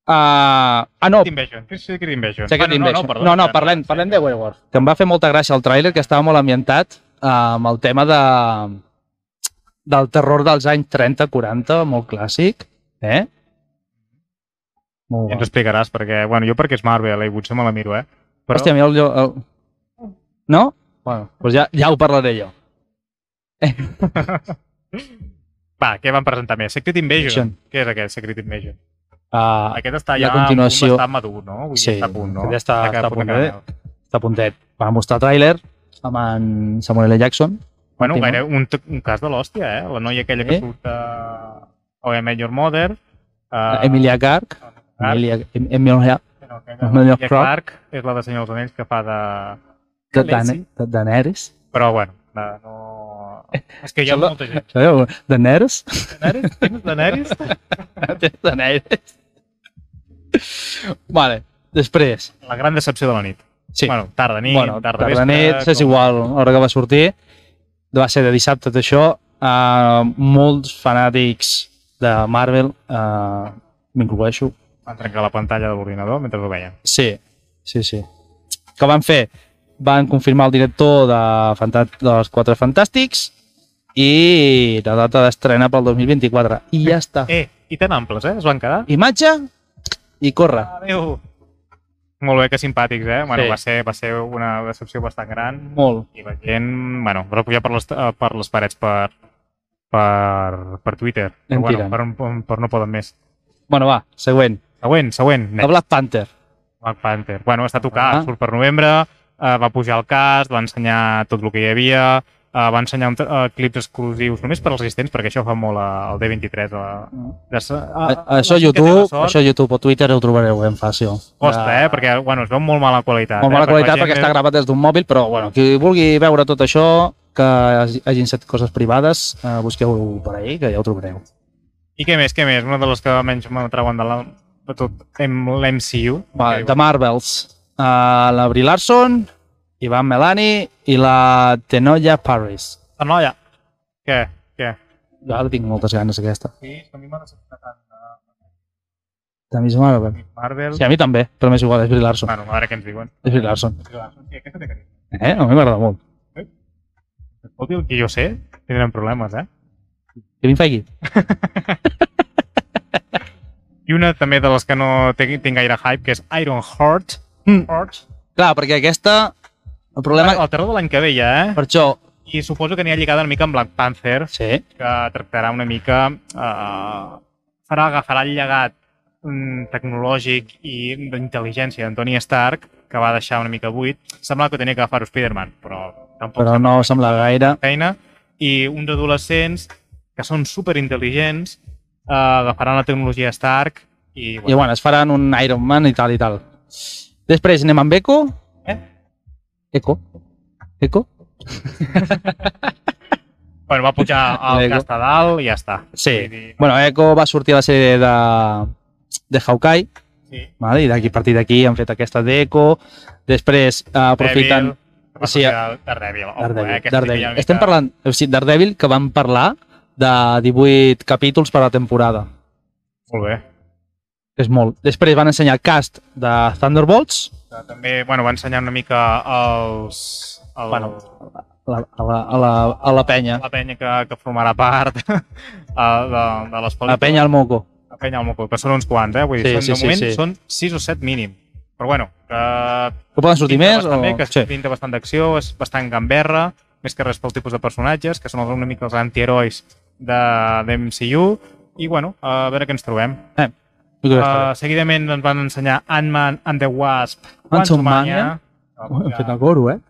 B: Uh, ah, no.
C: Invasion. Què és Secret Invasion?
B: Secret
C: Bueno,
B: Invasion.
C: No, no, perdó,
B: no, no, parlem, parlem de Wayward. Que em va fer molta gràcia el tràiler, que estava molt ambientat eh, amb el tema de, del terror dels anys 30-40, molt clàssic. Eh? Molt
C: Ja ens
B: guai.
C: explicaràs, perquè, bueno, jo perquè és Marvel i potser me la miro, eh? Però
B: Hòstia, mira el... el... No? Bueno, doncs ja, ja ho parlaré jo.
C: va, què van presentar més? Secret Invasion.
B: Invasion.
C: Què és aquest, Secret Invasion?
B: Uh,
C: Aquest està
B: la
C: ja
B: continuació.
C: està madur, no? Vull dir,
B: Sí,
C: està a punt, no?
B: ja està-
C: que
B: està a
C: punt
B: punt
C: de
B: de-
C: caramel.
B: està puntet. Va mostrar tràiler amb en Samuel L. Jackson.
C: Bueno,
B: Última.
C: gaire, un, t- un cas de l'hòstia, eh? La noia aquella que
B: Eh?
C: surt a... O a Major Mother.
B: Uh,
C: A...
B: Emilia Clarke.
C: Clarke.
B: Emilia, em, Emilia
C: No, aquella-
B: Emilia
C: Emilia
B: Clarke.
C: Clark. És la de Senyor dels Anells que fa de...
B: de,
C: Khaleesi.
B: Dane, de Daenerys.
C: Però, bueno, de, no... És que hi ha
B: Sembla-
C: molta gent.
B: Sabeu? Daenerys?
C: Daenerys? Tens Daenerys?
B: Daenerys. Vale, després.
C: La gran decepció de la nit.
B: Sí.
C: Bueno, tarda nit,
B: bueno,
C: tarda,
B: tarda
C: vespre,
B: nit, és
C: com-
B: igual, l'hora que va sortir. Va ser de dissabte, tot això. Uh, molts fanàtics de Marvel, uh, m'incloeixo,
C: Van trencar la pantalla de l'ordinador mentre ho veien.
B: Sí, sí, sí. Què van fer? Van confirmar el director de, Fanta- dels Quatre Fantàstics i la data d'estrena pel 2024. I ja està.
C: Eh, i tan amples, eh? Es van quedar.
B: Imatge i corre.
C: Ah, Adéu! Molt bé, que simpàtics, eh? Bueno,
B: Sí.
C: va, ser, va ser una decepció bastant gran.
B: Molt.
C: I la gent, bueno, va pujar per les, eh, per les parets per, per, per Twitter. Però, bueno,
B: Mentira.
C: per, un- per no poden més.
B: Bueno, va, següent.
C: Següent, següent.
B: La Black Panther.
C: Black Panther. Bueno, està tocat,
B: Ah.
C: surt per novembre, eh, va pujar el cast, va ensenyar tot el que hi havia, eh, va ensenyar un, eh, clips exclusius només per als assistents, perquè això ho fa molt eh, al D23. A, de, sa- a,
B: Ah, això
C: la gent que té la
B: YouTube,
C: sort
B: això YouTube o Twitter ho trobareu ben fàcil.
C: Costa, eh? Perquè, bueno, es veu molt mala qualitat.
B: Molt mala
C: eh?
B: qualitat
C: la gent
B: perquè està gravat des d'un mòbil, però bueno, qui vulgui veure tot això, que hagi- hagin set coses privades, eh, busqueu-ho per ahir, que ja ho trobareu.
C: I què més, què més? Una de les que menys m'atrauen de, la, de tot l'MCU.
B: Va, de Marvels. Uh, la Brie Larson, Ivan Melani i la Tenoya Paris.
C: La noia. Què? Què?
B: Jo ara tinc moltes ganes aquesta.
C: Sí, és que a mi m'ha decepcionat tant eh,
B: De Miss Marvel.
C: Marvel.
B: Sí, a mi també, però m'és igual, és Brie Larson.
C: Bueno, a veure què ens diuen.
B: És Brie Larson.
C: Sí, aquesta té carisma.
B: Eh? A mi m'agrada molt.
C: Escolti, el que jo sé, tindrem problemes, eh?
B: Que vinc faigui.
C: I una també de les que no tinc, tinc gaire hype, que és Iron Heart.
B: Mm.
C: Heart.
B: Clar, perquè aquesta... El problema...
C: El terror de l'any que ve ja, eh?
B: Per això...
C: I suposo que anirà lligada una mica amb Black Panther,
B: Sí.
C: que tractarà una mica... Eh, farà, agafarà el llegat mm, tecnològic i d'intel·ligència d'Antoni Stark, que va deixar una mica buit. Semblava que tenia que agafar-ho Spider-Man, però tampoc
B: Però no sembla gaire.
C: feina i uns adolescents que són superintel·ligents eh, agafaran la tecnologia Stark i,
B: I
C: bueno,
B: bueno, es faran un Iron Man i tal i tal. Després anem amb Echo.
C: Eh?
B: Echo. Echo?
C: bueno, va pujar el
B: Lego.
C: cast a dalt i ja està.
B: Sí.
C: Vull dir,
B: Bueno, Echo va sortir a la sèrie de, de Hawkeye,
C: sí.
B: vale? i d'aquí a partir d'aquí han fet aquesta d'Echo. Després, eh, aprofitant...
C: Daredevil, va
B: Sí,
C: sortir el Daredevil. Ojo, eh,
B: Daredevil.
C: aquesta sí que hi ha
B: Daredevil.
C: una
B: Estem
C: mica-
B: parlant... O sigui, Daredevil, que vam parlar de 18 capítols per a la temporada.
C: Molt bé.
B: És molt. Després van ensenyar cast de Thunderbolts,
C: Eh, També, bueno, va ensenyar una mica els... El,
B: Bueno, a la, a la, a la, a la penya.
C: la penya que, que formarà part eh, de, de les pel·lícules.
B: La penya al moco.
C: La penya al moco, que són uns quants, eh? Vull dir,
B: Sí, sí,
C: sí, són, de
B: sí,
C: moment
B: sí.
C: són 6 o 7 mínim. Però bueno, que
B: Que poden sortir
C: Pinta
B: més? O...
C: bastant Bé, que
B: Sí.
C: sí. pinta bastant d'acció, és bastant gamberra, més que res pel tipus de personatges, que són els- una mica els antiherois de, de MCU, i bueno, a veure què ens trobem.
B: Jo crec que està
C: Uh, seguidament ens van ensenyar Ant-Man and the Wasp,
B: Quantumania. bé. Ho hem fet el
C: Quantumania.
B: coro, eh?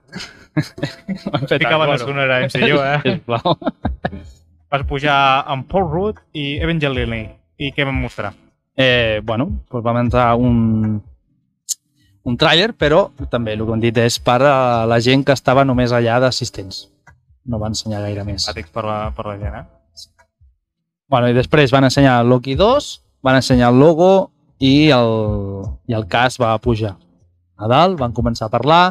B: Ho hem fet el
C: Ficava la
B: coro.
C: sonora MCU, eh?
B: Sisplau.
C: Vas pujar amb Paul Rudd i Evangeline. I què vam mostrar?
B: Eh, bueno, doncs vam entrar un, un tràiler, però també el que hem dit és per a la gent que estava només allà d'assistents. No va ensenyar gaire més.
C: Àtics per la, per la gent, eh?
B: Bueno, i després van ensenyar Loki 2, van ensenyar el logo i el, i el cas va pujar. A dalt van començar a parlar,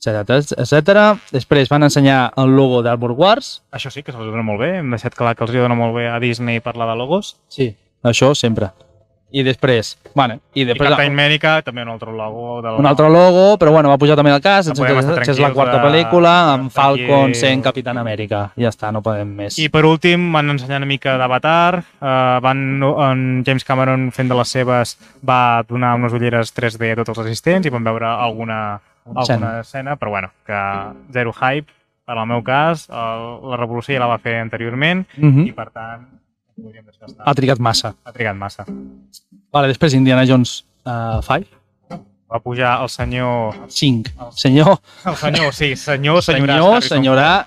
B: etc etc. Després van ensenyar el logo d'Arbor Wars.
C: Això sí, que se'ls dona molt bé. Hem deixat clar que els hi dona molt bé a Disney parlar de logos.
B: Sí. Això sempre. I després, bueno, i
C: I
B: després
C: Captain America, també un altre logo. Del...
B: un altre logo, però bueno, va pujar també el cas,
C: No
B: ens
C: podem estar
B: que és la
C: tranquils
B: quarta
C: de-
B: pel·lícula, amb
C: tranquils.
B: Falcon sent Capitán Amèrica. Ja està, no podem més.
C: I per últim van ensenyar una mica d'Avatar, uh, van en James Cameron fent de les seves va donar unes ulleres 3D a tots els assistents i van veure alguna, alguna
B: Escena.
C: escena, però bueno, que zero hype, en el meu cas, el, la revolució ja la va fer anteriorment
B: Mhm.
C: i per tant podríem deixar estar.
B: Ha trigat massa.
C: Ha trigat massa.
B: Vale, després Indiana Jones uh, 5,
C: Va pujar el senyor...
B: 5. Senyor,
C: El senyor, sí, senyor, Ah. senyora. eh,
B: senyor, senyora,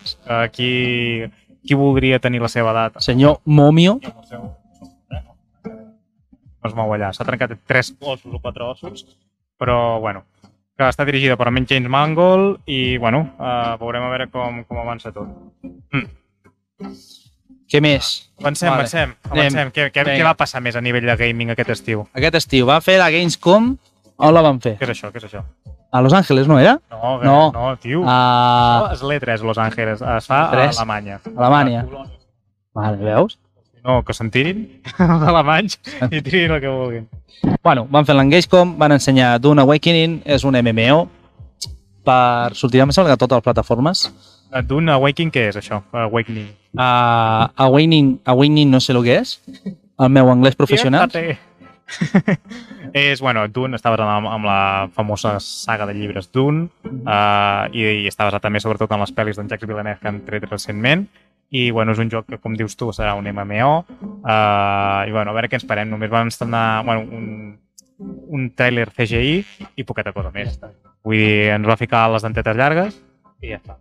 C: Qui, qui voldria tenir la seva edat?
B: senyor Momio.
C: amb el seu... No es mou allà. S'ha trencat tres ossos o quatre ossos, però, bueno, que està dirigida per almenys James Mangold i, bueno, uh, veurem a veure com, com avança tot.
B: Què més?
C: Avancem,
B: Vale.
C: vale. avancem, avancem. Què, què,
B: Vinga.
C: què va passar més a nivell de gaming aquest estiu?
B: Aquest estiu va fer la Gamescom. On la van fer?
C: Ah. Què és això? Què és això?
B: A Los Angeles, no era?
C: No,
B: No.
C: no, no tio. Ah.
B: A
C: És l'E3, Los Angeles. Es fa a
B: Tres?
C: Alemanya.
B: Alemanya.
C: A Ah, Colònia.
B: Vale, veus?
C: No, que se'n tirin els alemanys i tirin el que vulguin.
B: Bueno, van fer la Gamescom, van ensenyar Dune Awakening, és un MMO, per sortir, em sembla que a totes les plataformes.
C: D'un Awakening, què és això? Awakening.
B: a, a Waning, a Waning no sé el que és, el meu anglès professional.
C: Fíjate. és, bueno, Dune està basada amb, amb la famosa saga de llibres Dune uh, i, i està basat també sobretot en les pel·lis d'en Jacques Villeneuve que han tret recentment i bueno, és un joc que, com dius tu, serà un MMO uh, eh, i bueno, a veure què ens parem. Només van estrenar bueno, un, un trailer CGI i poqueta cosa més. Vull dir, ens va ficar les dentetes llargues i ja està.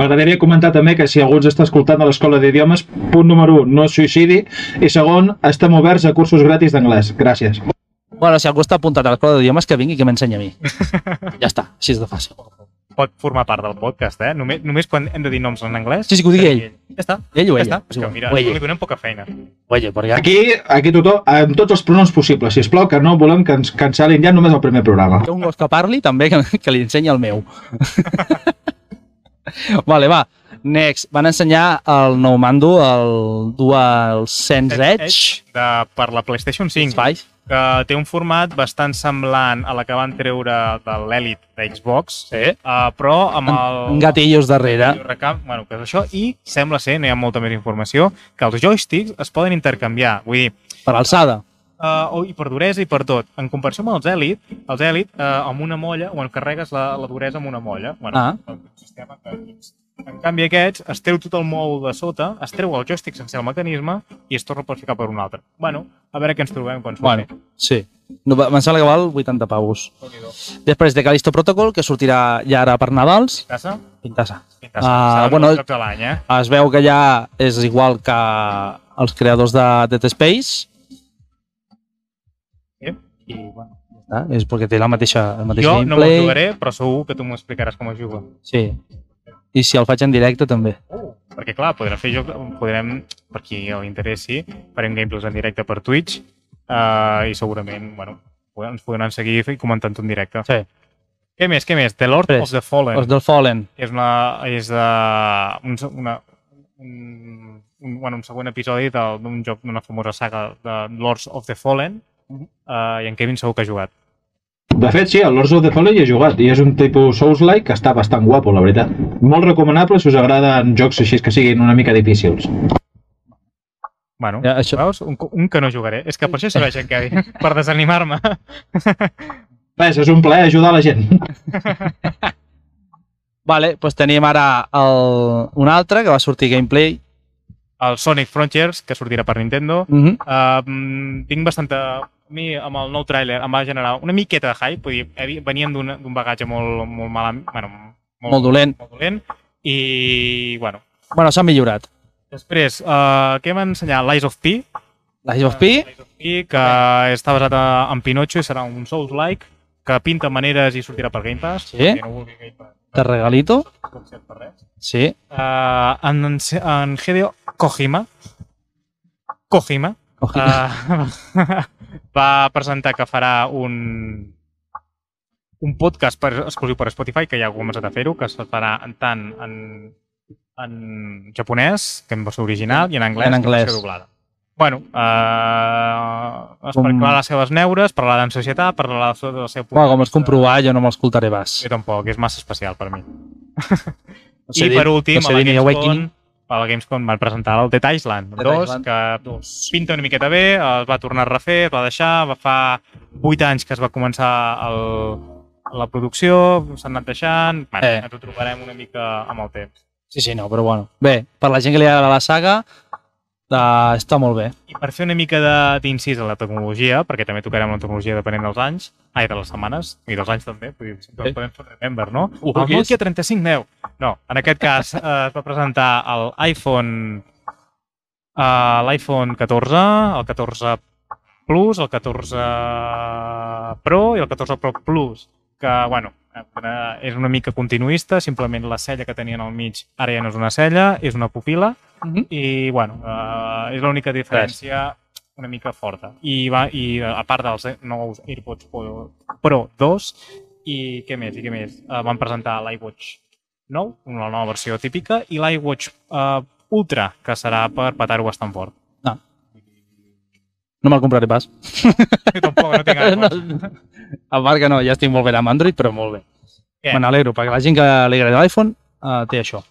D: M'agradaria comentar també que si algú ens està escoltant a l'escola d'idiomes, punt número 1, no es suïcidi, i segon, estem oberts a cursos gratis d'anglès. Gràcies.
B: Bueno, si algú està apuntat a l'escola d'idiomes, que vingui i que m'ensenya a mi. Ja està, així és de fàcil.
C: Pot formar part del podcast, eh? Només, només quan hem de dir noms en anglès...
B: Sí, sí, que ho digui ell.
C: Ja està.
B: Ell o
C: Ja
B: ella?
C: està. És que, mira,
B: o
C: li
B: ella,
C: donem poca feina.
B: o ella, perquè...
D: Aquí, aquí tothom, amb tots els pronoms possibles, si plau que no volem que ens cancel·lin ja només el primer programa.
B: Hi ha un gos que parli, també, que, que li ensenya el meu. vale, va. Next. Van ensenyar el nou mando, el DualSense
C: Edge.
B: Edge.
C: de, per la PlayStation 5.
B: Edge.
C: que té un format bastant semblant a la que van treure de l'Elite d'Xbox,
B: Sí.
C: uh, però amb el...
B: Amb gatillos darrere.
C: Recam... Bueno, que és això, i sembla ser, no hi ha molta més informació, que els joysticks es poden intercanviar. Vull dir,
B: Per alçada.
C: uh, i per duresa i per tot. En comparació amb els Elite, els Elite uh, amb una molla, o en carregues la, la duresa amb una molla. Bueno,
B: Ah.
C: el sistema que tens. En canvi aquests, es treu tot el mou de sota, es treu el joystick sense el mecanisme i es torna a ficar per un altre. Bueno, a veure què ens trobem quan surti.
B: Bueno, sí. No, va- em sembla que val 80 pavos.
C: Bueno.
B: Després de Callisto Protocol, que sortirà ja ara per Nadals,
C: Tassa?
B: pintassa.
C: Pintassa.
B: Ah,
C: Uh,
B: bueno,
C: bueno, jocs de l'any, eh?
B: Es veu que ja és igual que els creadors de Dead Space,
C: Sí.
B: i bueno, ja està, eh? és perquè té la mateixa, el mateix
C: eh? Jo no me'l
B: gameplay.
C: jugaré, però segur que tu m'ho explicaràs com es juga.
B: Sí. I si el faig en directe, també.
C: Perquè, clar, podrem fer joc, podrem, per qui li interessi, farem gameplays en directe per Twitch uh, i segurament, bueno, podem- ens podran seguir i comentant en directe.
B: Sí.
C: Què més, què més? The Lord
B: Després,
C: of the Fallen.
B: Els del Fallen.
C: És, una, és de, un, se- una, un, un, bueno, un següent episodi del- d'un joc d'una famosa saga de Lords of the Fallen uh, i en Kevin segur que ha jugat.
D: De fet, sí, el Lords of the Fallen hi he jugat i és un tipus Souls-like que està bastant guapo, la veritat. Molt recomanable si us agraden jocs així que siguin una mica difícils.
C: Bueno,
B: Ja, això-
C: veus? Un, co- un que no jugaré. És que per això serveix en Kevin, per desanimar-me.
D: Res, és un plaer ajudar la gent.
B: Vale, doncs tenim ara el, un altre que va sortir gameplay.
C: El Sonic Frontiers, que sortirà per Nintendo.
B: Mm -hmm.
C: Uh, tinc bastanta... A mi, amb el nou tràiler, em va generar una miqueta de hype, vull dir, havi- venien d'un d'un bagatge molt, molt mal... Bueno,
B: Molt dolent.
C: Molt dolent. I, bueno,
B: Bueno, s'ha millorat.
C: després, uh, què va ensenyar? L'Eyes of P,
B: L'Age of P,
C: Lies of P, que està basat a- en Pinocho i serà un Souls-like, que pinta maneres i sortirà per Game Pass.
B: Sí.
C: Si no vulgui Game Pass,
B: de regalito.
C: com si et per res.
B: Sí,
C: Uh, en, en, en Hideo Kojima,
B: Kojima.
C: Kojima, Ah, va presentar que farà un un podcast per, exclusiu per Spotify, que ja ha començat a fer-ho, que se farà en tant en, en japonès, que en versió original, i en anglès,
B: En
C: que versió
B: anglès.
C: doblada. Bueno, eh, es
B: Com-
C: parlarà les seves neures, parlarà en societat, parlarà sobre el seu...
B: Bueno, com els comprovar, jo no me'ls escoltaré bas.
C: Jo tampoc, és massa especial per mi.
B: No sé
C: I
B: dir-
C: per últim,
B: no
C: a
B: sé
C: la
B: dir ni
C: Gamescom,
B: Awakening.
C: a la Gamescom van presentar el Dead Island
B: Dead
C: 2,
B: Island
C: que pinta una miqueta bé, es va tornar a refer, es va deixar, va fa 8 anys que es va començar el, la producció, s'han anat deixant, bueno,
B: Eh.
C: eh. ens ho trobarem una mica amb el temps.
B: Sí, sí, no, però bueno. Bé, per la gent que li agrada la saga, eh, està molt bé.
C: I per fer una mica de- d'incís a la tecnologia, perquè també tocarem la tecnologia depenent dels anys, ai, de les setmanes, i dels anys també, vull dir, sempre
B: Sí.
C: podem fer un remember, no?
B: Ho
C: el
B: vulguis.
C: Nokia 3510. No, en aquest cas eh, es va presentar el iPhone eh, l'iPhone 14, el 14 Plus, el 14 Pro i el 14 Pro Plus, que, bueno, eh, és una mica continuista, simplement la cella que tenien al mig ara ja no és una cella, és una pupila,
B: Mhm.
C: i, bueno, eh, és l'única diferència una mica forta. I, va, i eh, a part dels nous AirPods Pro- Pro 2, i què més, i què més? Eh, van presentar l'iWatch 9, una nova versió típica, i l'iWatch eh, Ultra, que serà per petar-ho bastant fort.
B: No me'l compraré pas.
C: Jo tampoc no tinc
B: No,
C: iWatch.
B: a part que no, ja estic molt bé amb Android, però molt bé.
C: Què?
B: Me n'alegro, perquè la gent que li agrada l'iPhone uh, té això.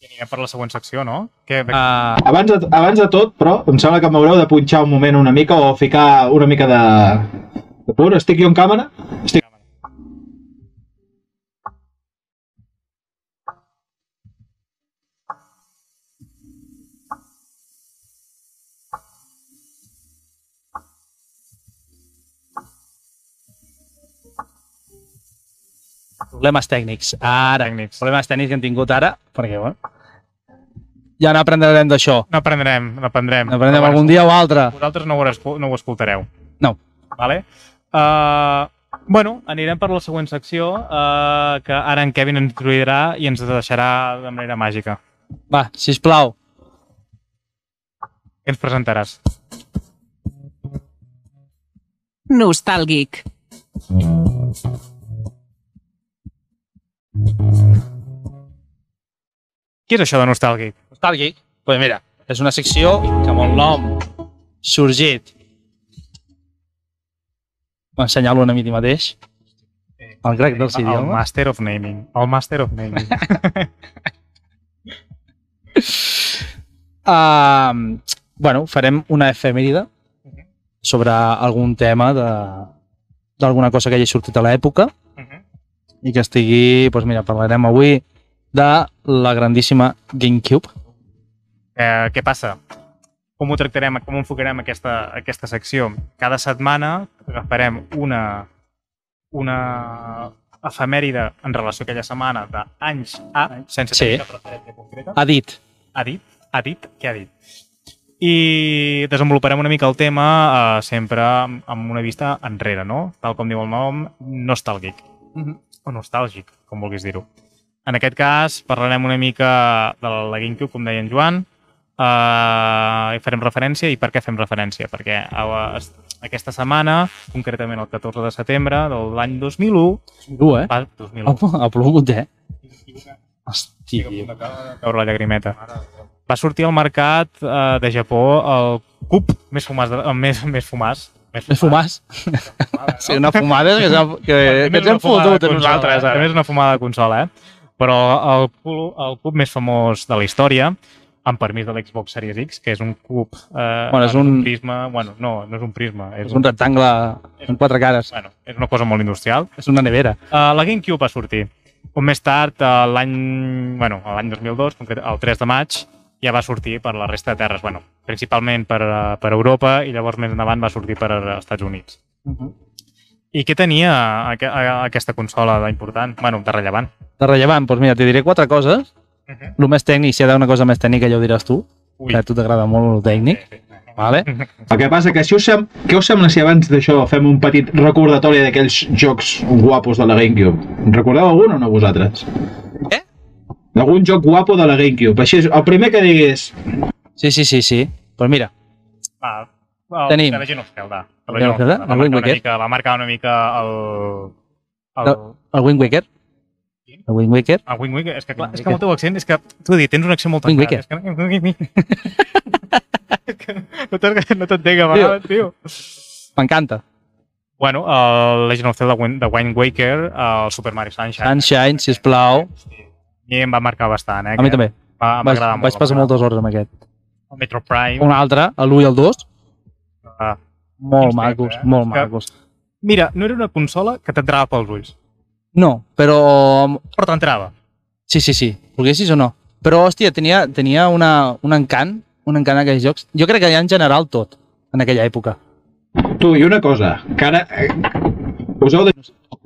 C: I anirem per la següent secció, no? Que, uh,
B: Uh,
D: Abans de, abans de tot, però, em sembla que m'haureu de punxar un moment una mica o ficar una mica de... de pur. Estic jo en càmera? Estic...
B: problemes tècnics. Ara,
C: Tècnics.
B: problemes tècnics que hem tingut ara, perquè, bueno, ja n'aprendrem d'això.
C: n'aprendrem, n'aprendrem.
B: N'aprendrem
C: Però, bueno,
B: algun dia o altre.
C: Vosaltres no ho, escu- no ho escoltareu.
B: No.
C: Vale? Uh, bueno, anirem per la següent secció uh, que ara en Kevin ens introduirà i ens deixarà de manera màgica.
B: Va, sisplau.
C: Què ens presentaràs?
A: Nostàlgic.
C: Què és això de nostàlgic?
B: Nostàlgic. Doncs pues mira, és una secció que amb el nom sorgit ensenyar-lo a mi mateix. El grec dels
C: El
B: idiomes.
C: Master of Naming. El Master of Naming.
B: Uh, bueno, farem una efemèride sobre algun tema de- d'alguna cosa que hagi sortit a l'època i que estigui, doncs mira, parlarem avui de la grandíssima Gamecube.
C: Eh, què passa? Com ho tractarem, com enfocarem aquesta, aquesta secció? Cada setmana agafarem una, una efemèride en relació a aquella setmana d'anys a, sense
B: Sí.
C: tenir cap referència concreta.
B: Ha dit,
C: Ha dit? Ha dit? Què ha dit? I desenvoluparem una mica el tema eh, sempre amb amb una vista enrere, no? Tal com diu el nom, nostàlgic. O nostàlgic, com vulguis dir-ho. En aquest cas, parlarem una mica de la GameCube, com deia en Joan, eh, i farem referència. I per què fem referència? Perquè a- es- aquesta setmana, concretament el 14 de setembre de l'any 2001,
B: tu, eh?
C: va, 2001,
B: Home, ha plogut, eh? Hòstia,
C: caure la llagrimeta. Va sortir al mercat eh, de Japó el cub més fumàs, de, eh, més, més fumàs. Més
B: és fumàs. Sí, una fumada que, s'ha- que, que ens hem fotut a nosaltres. eh?
C: També
B: Ara.
C: és eh, una fumada de consola, eh? Però el, cul- el cub més famós de la història, amb permís de l'Xbox Series X, que és un cub... Eh,
B: Bueno, és un-
C: prisma... Bueno, no, no és un prisma. És,
B: És un rectangle amb quatre cares.
C: Bueno, és una cosa molt industrial.
B: És una nevera.
C: Uh, la GameCube va sortir. Un més tard, eh, l'any bueno, l'any 2002, concret, el 3 de maig, ja va sortir per la resta de terres, bueno, principalment per, eh, per Europa i llavors més endavant va sortir per als Estats Units.
B: Mhm.
C: I què tenia aqu a- aquesta consola d'important? Bueno, de rellevant.
B: de rellevant, doncs mira, t'hi diré quatre coses. Uh
C: Mhm.
B: -huh. El més tècnic, si hi ha d'haver una cosa més tècnica, ja ho diràs tu,
C: Ui.
B: que a tu t'agrada molt el tècnic. Vale?
C: Mhm.
D: El que passa que si us sem... què us sembla si abans d'això fem un petit recordatori d'aquells jocs guapos de la Gamecube? En recordeu algun o no vosaltres?
B: Eh?
D: Algun joc guapo de la Gamecube. Així, el primer que digués...
B: Sí, sí, sí, sí. Doncs mira,
C: Va, el,
B: Tenim.
C: De la gent of Zelda. De
B: Legend of Zelda?
C: Va
B: El Wind
C: marcar, una
B: Waker?
C: mica, va marcar una mica el... El,
B: No. el Wind Waker. El Wind Waker.
C: el Wind Waker, és que clar,
B: Wind
C: és que
B: Waker.
C: amb el teu accent, és que t'ho he dit, tens un accent molt
B: Wind
C: tancat. És que... és que no t'entenc, no t'entenc a vegades, tio.
B: M'encanta.
C: Bueno, el Legend of Zelda Wind- de Wind Waker, el Super Mario Sunshine,
B: Sunshine, sisplau.
C: a mi em va marcar bastant, eh?
B: A mi també.
C: Va,
B: Vaig,
C: m'agrada molt.
B: vaig passar moltes hores amb aquest.
C: El Metro Prime.
B: Un altre, l'1 i el 2,
C: Ah.
B: molt
C: Quins
B: macos,
C: temps, eh?
B: molt
C: És que-
B: macos.
C: Mira, no era una consola que t'entrava pels ulls,
B: No, però...
C: però t'entrava.
B: Sí, sí, sí. Volguessis o no. Però, hòstia, tenia, tenia una, un encant, un encant a aquells jocs. Jo crec que ja en general tot, en aquella època.
D: Tu, i una cosa, que ara... eh, Us heu, de...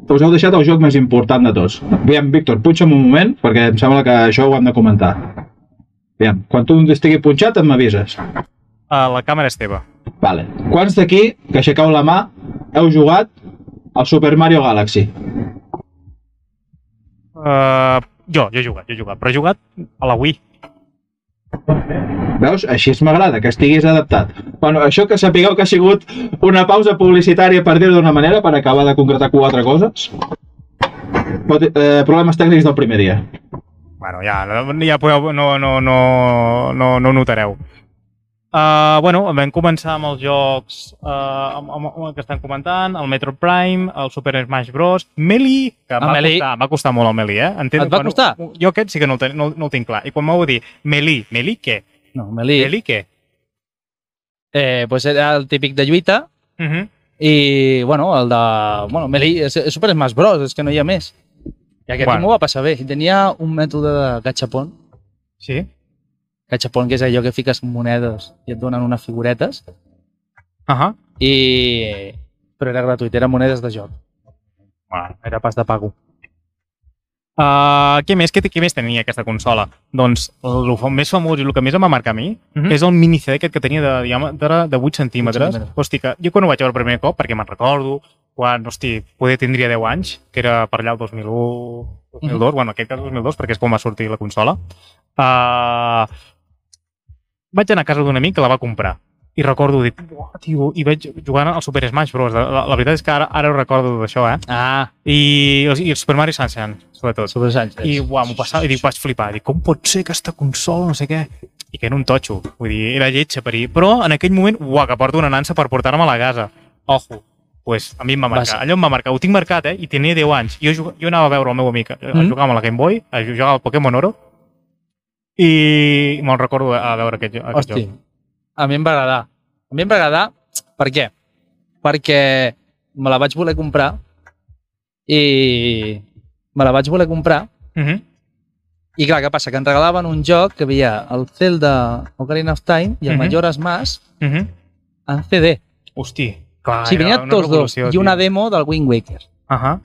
D: us heu deixat el joc més important de tots. Aviam, Víctor, punxa'm un moment, perquè em sembla que això ho hem de comentar. Aviam, quan tu estigui punxat em m'avises.
C: Uh, la càmera és teva.
D: Vale. Quants d'aquí, que aixecau la mà, heu jugat al Super Mario Galaxy?
C: Uh, jo, jo he jugat, jo he jugat, però he jugat a la Wii.
D: Veus? Així es m'agrada, que estiguis adaptat. Bueno, això que sapigueu que ha sigut una pausa publicitària, per dir-ho d'una manera, per acabar de concretar quatre coses. Pot, eh, problemes tècnics del primer dia.
C: Bueno, ja, ja podeu, no, no, no, no, no ho notareu. Uh, bueno, vam començar amb els jocs uh, amb, amb, amb el que estan comentant, el Metro Prime, el Super Smash Bros, Melee, que em
B: El
C: va,
B: Ah, Melee.
C: Costar, em va costar molt el Melee, eh? Entenc,
B: Et va costar?
C: Jo aquest sí que no el, ten, no, no el tinc clar. I quan m'ho dir, Melee, Melee què?
B: No, Melí.
C: Melee què?
B: Eh, pues era el típic de lluita,
C: Uh -huh.
B: I, bueno, el de... Bueno, Melee, és, és Super Smash Bros, és que no hi ha més. I aquest
C: Bueno.
B: bueno. m'ho va passar bé. I tenia un mètode de gachapon,
C: Sí?
B: gachapon que és allò que fiques monedes i et donen unes figuretes,
C: Uh -huh.
B: i... però era gratuït, era monedes de joc,
C: bueno.
B: no era pas de pago.
C: Uh, què més? Què, què més tenia aquesta consola? Doncs el, el més famós i el que més em va marcar a mi
B: Mhm.
C: és el mini CD aquest que tenia de diàmetre de 8 centímetres.
B: centímetres.
C: Hosti, que jo quan ho vaig veure el primer cop, perquè me'n recordo, quan, hosti, poder tindria 10 anys, que era per allà el 2001, 2002,
B: Mhm.
C: bueno, en aquest cas 2002, perquè és quan va sortir la consola, uh, vaig anar a casa d'un amic que la va comprar. I recordo, dic, "Buah, tio, i vaig jugant al Super Smash Bros. La, la, la veritat és que ara, ara ho recordo d'això, eh?
B: Ah,
C: I, i el Super Mario Sunshine, sobretot.
B: Super Sánchez.
C: I, uau, m'ho passava, i dic, vaig flipar. Dic, com pot ser aquesta consola, no sé què? I que era un totxo. Vull dir, era lletja per dir. Però en aquell moment, uau, que porto una nansa per portar-me a la casa. Ojo. pues a mi em va
B: Va
C: marcar.
B: ser-
C: Allò em va marcar. Ho tinc marcat, eh? I tenia 10 anys. Jo, jug- jo anava a veure el meu amic a, a
B: Mm.
C: jugar amb la Game Boy, a ju- jugar al Pokémon Oro, i me'n recordo a veure aquest, jo- aquest
B: Hosti,
C: joc.
B: a mi em va agradar. A mi em va agradar, per què? Perquè me la vaig voler comprar i me la vaig voler comprar
C: Uh -huh.
B: i clar, què passa? Que ens regalaven un joc que havia el Zelda Ocarina of Time i el
C: Mhm.
B: Majora's Mask
C: Uh -huh.
B: en CD.
C: Hosti, clar,
B: o sigui, venien tots dos i una demo del Wind Waker.
C: Uh -huh.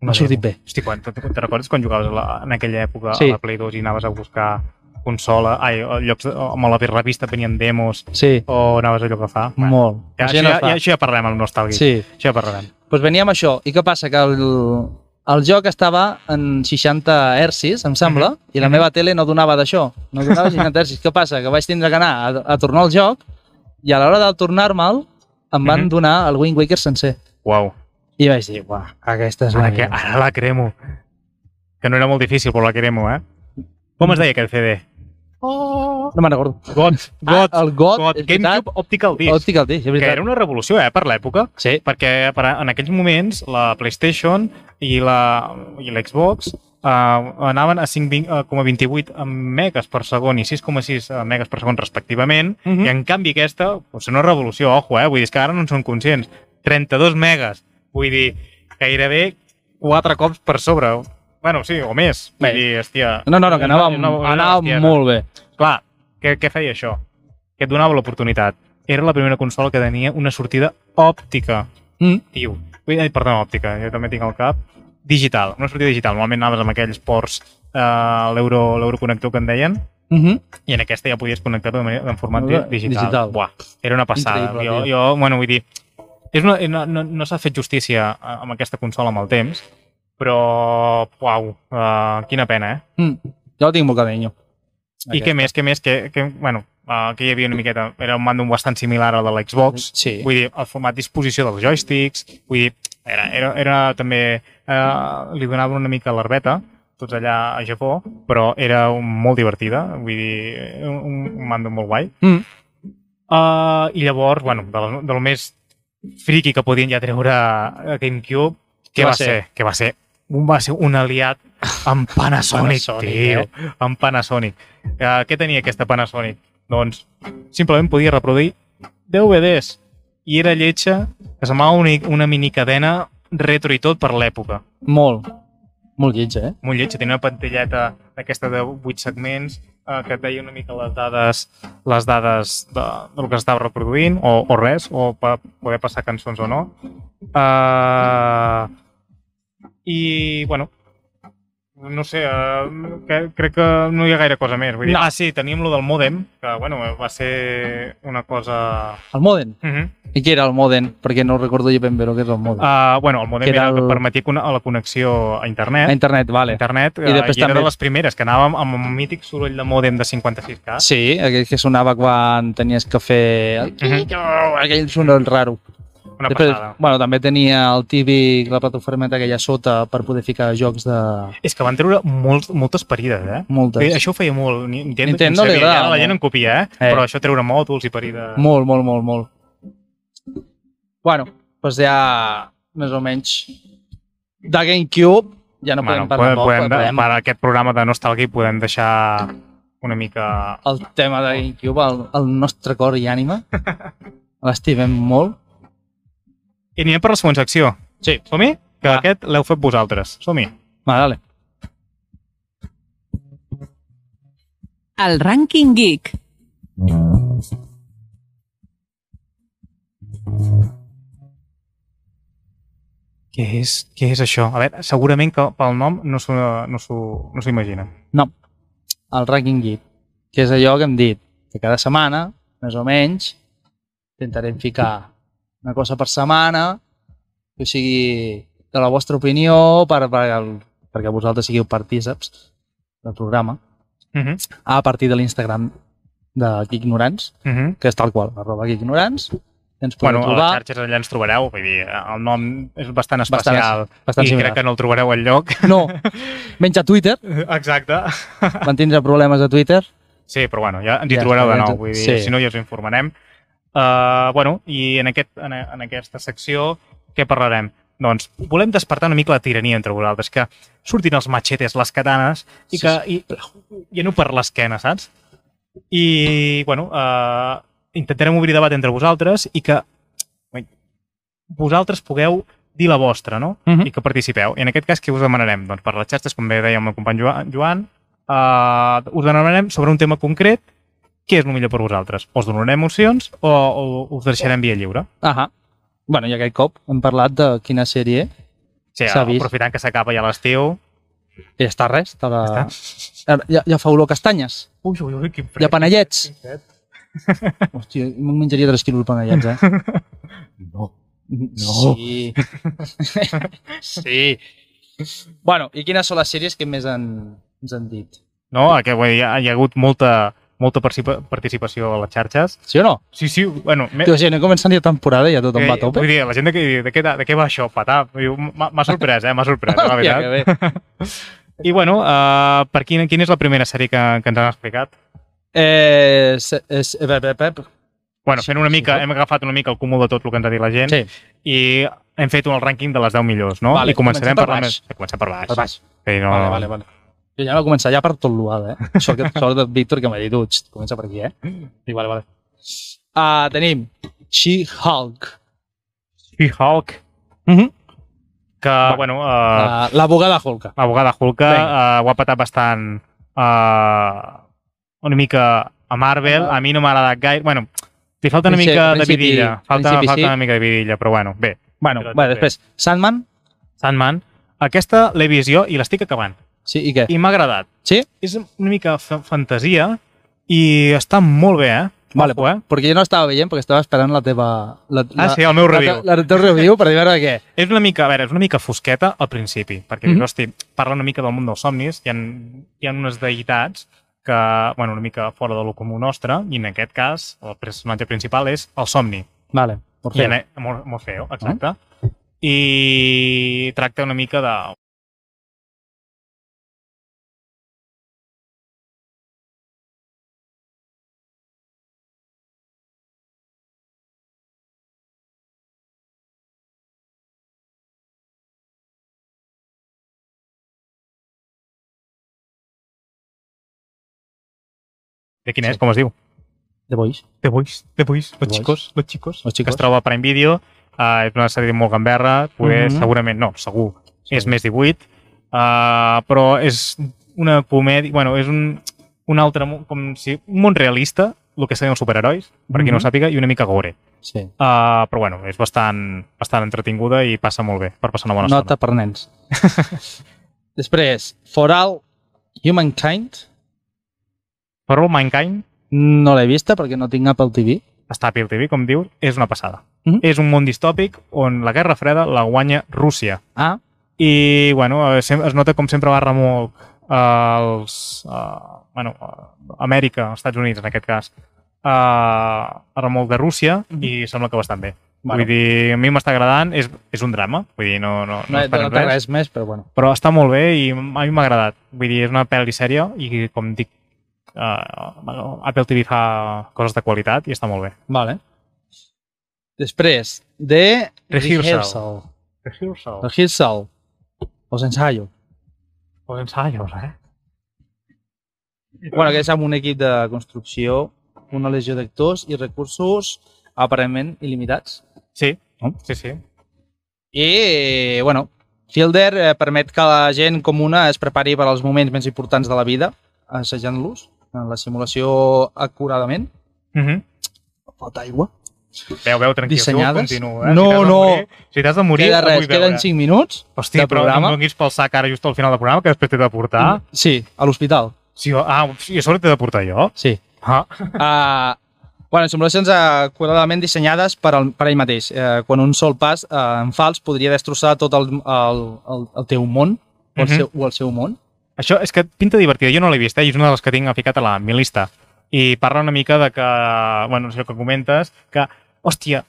B: No ha sortit bé.
C: Hosti, quan, te, te recordes quan jugaves a la, en aquella època sí.
B: Sí.
C: a la Play 2 i anaves a buscar consola, ai, a llocs, de- amb la revista venien demos
B: Sí,
C: o anaves allò que fa? Va,
B: molt.
C: Ja,
B: O
C: això,
B: sigui,
C: ja,
B: no fa.
C: ja, això ja parlem amb nostàlgic.
B: Sí.
C: Això ja parlarem.
B: pues venia amb Doncs això. I què passa? Que el, el joc estava en 60 hercis, em sembla,
C: Mhm.
B: i la
C: Mhm.
B: meva tele no donava d'això. No donava 60 hercis. què passa? Que vaig tindre que anar a, a tornar el joc i a l'hora de tornar-me'l em van
C: Mhm.
B: donar el Wind Waker sencer.
C: Uau.
B: I vaig dir, uah, aquesta és la
C: Ara, que,
B: meva.
C: ara la cremo. Que no era molt difícil, però la cremo, eh? Com es deia aquest CD? Oh.
B: No me'n recordo.
C: God, God,
B: ah, el God,
C: God,
B: és veritat.
C: GameCube Optical Disc.
B: Òptic el disc, és
C: que
B: veritat.
C: era una revolució, eh, per l'època.
B: Sí.
C: perquè per, a- en aquells moments la PlayStation i la i l'Xbox uh, anaven a 5,28 megas per segon i 6,6 eh, megas per segon respectivament uh
B: Mhm.
C: -huh. i en canvi aquesta, potser una revolució, ojo, eh? vull dir, és que ara no en són conscients 32 megas, vull dir gairebé 4 cops per sobre bueno, sí, o més vull
B: Bé.
C: dir, hòstia
B: No, no, no, que anava,
C: una- una- una
B: anava
C: bestiesa.
B: molt bé.
C: Clar, què, què feia això? Que et donava l'oportunitat era la primera consola que tenia una sortida òptica
B: Mm.
C: tio. Vull dir, perdó, òptica, jo també tinc al cap. Digital, una sortida digital. Normalment anaves amb aquells ports, eh, l'euro- l'euroconector que en deien,
B: Mm -hmm.
C: i en aquesta ja podies connectar de manera, en format
B: Veure,
C: di- digital.
B: digital.
C: Buah, era una passada.
B: Increïble,
C: jo,
B: tio.
C: jo, bueno, vull dir, és una, no, no, no s'ha fet justícia eh, amb aquesta consola amb el temps, però, uau, uh, quina pena, eh?
B: mm. Jo el tinc molt carinyo.
C: I què més, què més, que, que bueno, uh, que hi havia una miqueta, era un mando bastant similar al de l'Xbox,
B: Sí.
C: vull dir, el format disposició dels joysticks, vull dir, era, era, era també, eh, li donava una mica l'herbeta, tots allà a Japó, però era un, molt divertida, vull dir, un, un mando molt guai.
B: Mm.
C: Uh, I llavors, bueno, del, del més friki que podien ja treure a GameCube, què va, va ser? ser? Què va ser? Un, va ser un aliat amb Panasonic,
B: Panasonic,
C: tio. Eh? Amb Panasonic. Uh, què tenia aquesta Panasonic? Doncs simplement podia reproduir DVDs i era lletja, que semblava una, una minicadena retro i tot per l'època.
B: Molt. Molt lletja, eh?
C: Molt lletja, tenia una pantalleta d'aquesta de 8 segments eh, que et deia una mica les dades les dades de, del que estava reproduint o, o res, o per poder passar cançons o no. Uh, I, bueno, no sé, uh, que, crec que no hi ha gaire cosa més. Vull dir, no. Ah, sí, teníem lo del mòdem, que, bueno, va ser una cosa...
B: El Modem.
C: Uh -huh.
B: I què era el Modem? Perquè no recordo jo ben bé el que és el Modem.
C: Uh, bueno, el modem
B: Que
C: era
B: era
C: el... que
B: el-
C: permetia con- la connexió a
B: A
C: internet.
B: internet,
C: A
B: vale.
C: eh? internet,
B: I
C: I,
B: després
C: i era
B: també-
C: de les primeres, que anàvem amb un mític soroll de mòdem de 56K.
B: Sí, aquell que sonava quan tenies que fer... el-
C: Mhm.
B: Aquell soroll raro.
C: Una
B: Després,
C: passada.
B: bueno, també tenia el típic, la plataforma aquella sota per poder ficar jocs de
C: És que van treure molt, moltes parides, eh?
B: moltes.
C: Sí, això ho feia molt. Ni- Nintendo,
B: Nintendo
C: ja en
B: li
C: sabia,
B: agrada
C: ja la gent en
B: molt.
C: copia, eh?
B: Eh.
C: Però això treure mòduls i parides...
B: Molt, molt, molt, molt. Bueno, doncs ja més o menys de GameCube ja no podem parlar
C: podem, podem,
B: però
C: podem, per aquest programa de Nostalgia podem deixar una mica...
B: el tema de GameCube al, al nostre cor i ànima. L'estimem molt.
C: I anirem per la següent secció.
B: Sí.
C: Som-hi? Que
B: Va.
C: aquest l'heu fet vosaltres. Som-hi.
B: Va, dale.
A: El rànquing geek.
C: Què és, què és això? A veure, segurament que pel nom no s'ho no s'ho- no s'ho imaginen.
B: No, el Ranking Geek, que és allò que hem dit, que cada setmana, més o menys, intentarem ficar una cosa per setmana, que sigui de la vostra opinió, per, per el, perquè vosaltres sigueu partíceps del programa,
C: Uh -huh.
B: a partir de l'Instagram de Geeknorants,
C: Uh -huh.
B: que és tal qual, arroba Geeknorants, ens podeu
C: Bueno, a les
B: trobar
C: xarxes allà ens trobareu, vull dir, el nom és bastant
B: Bastant-
C: especial
B: bastant
C: i
B: similar.
C: crec que no el trobareu al lloc.
B: No, menys a Twitter,
C: Exacte.
B: van tindre problemes a Twitter,
C: Sí, però bueno, ja ens hi
B: Ja
C: trobareu de
B: està, ja
C: nou,
B: ens-
C: vull dir,
B: sí.
C: si no ja us informarem. Uh, bueno, i en, aquest, en, en aquesta secció què parlarem? Doncs volem despertar una mica la tirania entre vosaltres, que surtin els machetes, les katanes, i que i, i aneu per l'esquena, saps? I, bueno, uh, intentarem obrir debat entre vosaltres i que bueno, vosaltres pugueu dir la vostra, no? Uh
B: Mhm.
C: -huh. I que participeu. I en aquest cas, què us demanarem? Doncs per les xarxes, com bé deia el meu company Joan, Joan uh, us demanarem sobre un tema concret què és el millor per vosaltres. Us donarem opcions o, o us deixarem via lliure?
B: Ahà. Bueno, i aquest cop hem parlat de quina sèrie
C: Sí,
B: S'ha vist.
C: aprofitant que s'acaba ja l'estiu.
B: i ja està res. Està la...
C: Ja
B: Ara, Ja, ja fa olor a castanyes,
C: Ui, ui, ui, quin fred.
B: ja panellets.
C: Quin fred.
B: Hòstia, me'n menjaria 3 quilos de panellets, eh?
D: No.
B: No. Sí. sí. Bueno, i quines són les sèries que més han, ens han dit?
C: No, que vull dir, hi ha, hi ha hagut molta, molta participa participació a les xarxes.
B: Sí o no?
C: Sí, sí, bueno... Me...
B: Tio, si no comença ni la temporada i ja tothom va a tope.
C: Eh. Vull dir, la gent de, què- de, què, de què va això, patar? Vull dir, M'ha m'ha sorprès, eh? M'ha sorprès, la
B: Hòstia,
C: veritat.
B: que bé.
C: I bueno, uh, per quina, quina és la primera sèrie que, que ens han explicat?
B: Eh, és, és, pep, pep.
C: Bueno,
B: Sí,
C: fent una
B: sí,
C: mica,
B: no?
C: hem agafat una mica el cúmul de tot el que ens ha dit la gent
B: Sí,
C: i hem fet el rànquing de les 10 millors, no?
B: Vale,
C: I començarem
B: comencem per
C: per, la
B: baix.
C: més... Comencem per baix.
B: per baix.
C: Sí, no...
B: Vale, vale, vale. Jo ja va començar ja per tot l'uada, eh? Sort, que, sort del Víctor que m'ha dit, uix, comença per aquí, eh? Dic, vale, vale. Uh, tenim She-Hulk,
C: She-Hulk,
B: Mhm.
C: que,
B: Va.
C: bueno,
B: uh,
C: uh,
B: l'abogada Hulk.
C: l'abogada Hulk
B: Vinga.
C: uh, ho ha patat bastant uh, una mica a Marvel. A mi no m'ha agradat gaire. Bueno, li falta una
B: Principi-
C: mica de
B: principi-
C: vidilla. Falta,
B: principi
C: falta
B: sí.
C: una mica de vidilla, però bueno, bé.
B: Bueno,
C: Però
B: va,
C: bé.
B: després, Sandman,
C: Sandman, aquesta l'he vist jo i l'estic acabant.
B: sí, i què?
C: I m'ha agradat.
B: Sí?
C: És una mica fa- fantasia i està molt bé, eh?
B: Vale,
C: Ojo, eh?
B: Perquè jo no estava veient, perquè estava esperant la teva... La,
C: Ah,
B: la,
C: sí, el meu
B: la,
C: review.
B: la, la teva review per dir a veure què.
C: És una mica, a veure, és una mica fosqueta al principi, perquè, mm
B: Mhm.
C: -hmm. hosti, parla una mica del món dels somnis, hi ha, hi ha unes deïtats que, bueno, una mica fora de lo comú nostre, i en aquest cas el personatge principal és el somni.
B: Vale, per
C: I en,
B: fer.
C: eh, molt, molt feo, exacte. I tracta una mica de... De quina és? Com es diu?
B: The Boys.
C: The Boys, The Boys,
B: The
C: Los
B: Boys.
C: Chicos, Los Chicos.
B: Los
C: Que
B: Chicos.
C: es troba a Prime Video, uh, és una sèrie molt gamberra, poder,
B: Mhm.
C: segurament, no, segur, és més 18, uh, però és una comèdia, bueno, és un, un altre, món, com si, un món realista, el que serien els superherois, per qui no ho
B: Mhm.
C: sàpiga, i una mica gore.
B: Sí.
C: Uh, però bueno, és bastant, bastant entretinguda i passa molt bé, per passar una bona
B: Nota per nens. després, For All Humankind.
C: estona. Per All Mankind,
B: No l'he vista perquè no tinc Apple TV.
C: està a Apple TV, com dius, és una passada.
B: Mhm.
C: És un món distòpic on la Guerra Freda la guanya Rússia.
B: Ah,
C: i bueno, eh, sem- es nota com sempre va remolc eh, els, eh, bueno, eh, Amèrica, els Estats Units en aquest cas, eh, a remolc de Rússia
B: Mhm.
C: i sembla que bastant bé.
B: Bueno.
C: Mm-hmm. Bueno. Vull dir, a mi m'està agradant, és, és un drama, vull dir, no, no,
B: no,
C: no,
B: he
C: esperem
B: donat res. res més, però bueno.
C: però està molt bé i a mi m'ha agradat. Vull dir, és una pel·li sèria i com dic, uh, Apple TV fa coses de qualitat i està molt bé.
B: Vale. Després, de...
C: Rehearsal.
B: Rehearsal.
C: Rehearsal.
B: Rehearsal. Els ensayo.
C: O ensaios, eh?
B: Bueno, que és amb un equip de construcció, una legió d'actors i recursos aparentment il·limitats.
C: Sí,
B: No?
C: sí, sí.
B: I, eh, bueno, Fielder eh, permet que la gent comuna es prepari per als moments més importants de la vida, assajant-los en la simulació acuradament.
C: Uh -huh.
B: Falta aigua.
C: Veu, veu, tranquil,
B: Dissenyades?
C: tu continua. Eh?
B: No,
C: si t'has de
B: no.
C: Morir, si t'has de morir,
B: Queda
C: et
B: res,
C: vull veure.
B: queden 5 minuts.
C: Hòstia,
B: de
C: però
B: programa. Mm.
C: no em donis pel sac ara just al final del programa, que després t'he de portar.
B: Sí, a l'hospital.
C: Sí, o- ah, i a sobre t'he de portar jo.
B: Sí.
C: Ah,
B: Uh, bueno, simulacions acuradament dissenyades per, al, per ell mateix, eh, quan un sol pas eh, en fals podria destrossar tot el, el, el, el teu món, o el,
C: Mhm.
B: seu, o el seu món.
C: això és que pinta divertida. Jo no l'he vist, eh? i és una de les que tinc ficat a la mi llista. I parla una mica de que, bueno, això que comentes, que, hòstia,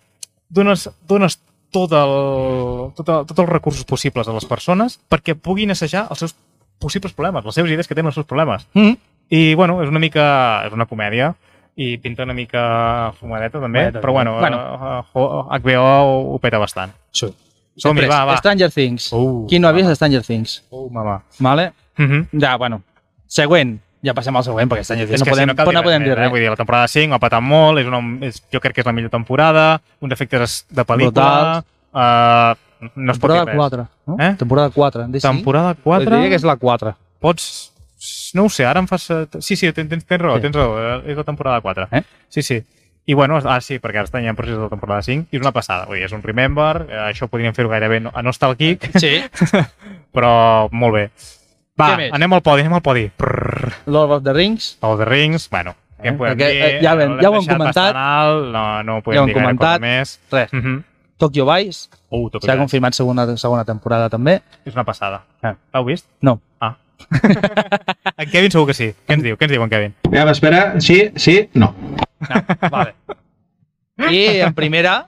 C: dones, dones tot el, tot el, tots els recursos possibles a les persones perquè puguin assajar els seus possibles problemes, les seves idees que tenen els seus problemes.
B: Mm -hmm.
C: I, bueno, és una mica... És una comèdia i pinta una mica fumadeta, també,
B: Fumadeta,
C: però, bueno, eh,
B: bueno.
C: bueno. HBO ho, ho peta bastant.
B: Sí.
C: Som-hi, va, va.
B: Stranger Things.
C: Uh,
B: Qui no ha vist Stranger Things?
C: Uh, mama.
B: Vale?
C: Mm -hmm.
B: Ja, bueno. Següent. Ja passem al següent, perquè Stranger Things
C: És
B: no
C: que
B: podem,
C: si no cal
B: no
C: res
B: podem dir
C: més, eh?
B: res.
C: Vull dir, la temporada 5 ha patat molt, és una, és, jo crec que és la millor temporada, uns efectes de pel·lícula...
B: Brutals.
C: Uh, no es pot dir
B: temporada
C: res.
B: 4. No?
C: Eh?
B: Temporada 4. Dic,
C: Temporada
B: Sí? Pues
C: 4,
B: diria que és la 4.
C: pots... No ho sé, ara em fas... eh, Sí, sí, tens, tens, tens raó,
B: Sí.
C: sí. tens raó, eh, és la temporada 4.
B: Eh?
C: Sí, sí. I bueno, ah, sí, perquè ara estan ja en procés de la temporada 5, i és una passada, vull dir, és un Remember, eh, això podríem fer-ho gairebé no- a Nostalgic,
B: Sí. Eh?
C: però molt bé. Va,
B: Què més?
C: anem al podi, anem al podi. Prrr,
B: Lord of the Rings.
C: Lord of the Rings, bueno, què
B: Eh?
C: en podem
B: Perquè,
C: dir?
B: eh, ja ho hem-
C: L'hem
B: ja ho hem
C: deixat
B: comentat.
C: bastant Alt, no, no ho
B: Ja ho
C: podem
B: hem
C: dir gaire
B: comentat.
C: cosa més.
B: Res.
C: Mm -hmm.
B: Tokyo Vice.
C: Uh, tot
B: S'ha
C: bé.
B: confirmat segona, segona temporada, també.
C: És una passada.
B: Ah.
C: L'heu vist?
B: No.
C: Ah. en Kevin segur que sí. Què ens diu? Què ens diu en Kevin?
D: Aviam, Eh, espera, sí, sí, no.
B: Vale. I en primera,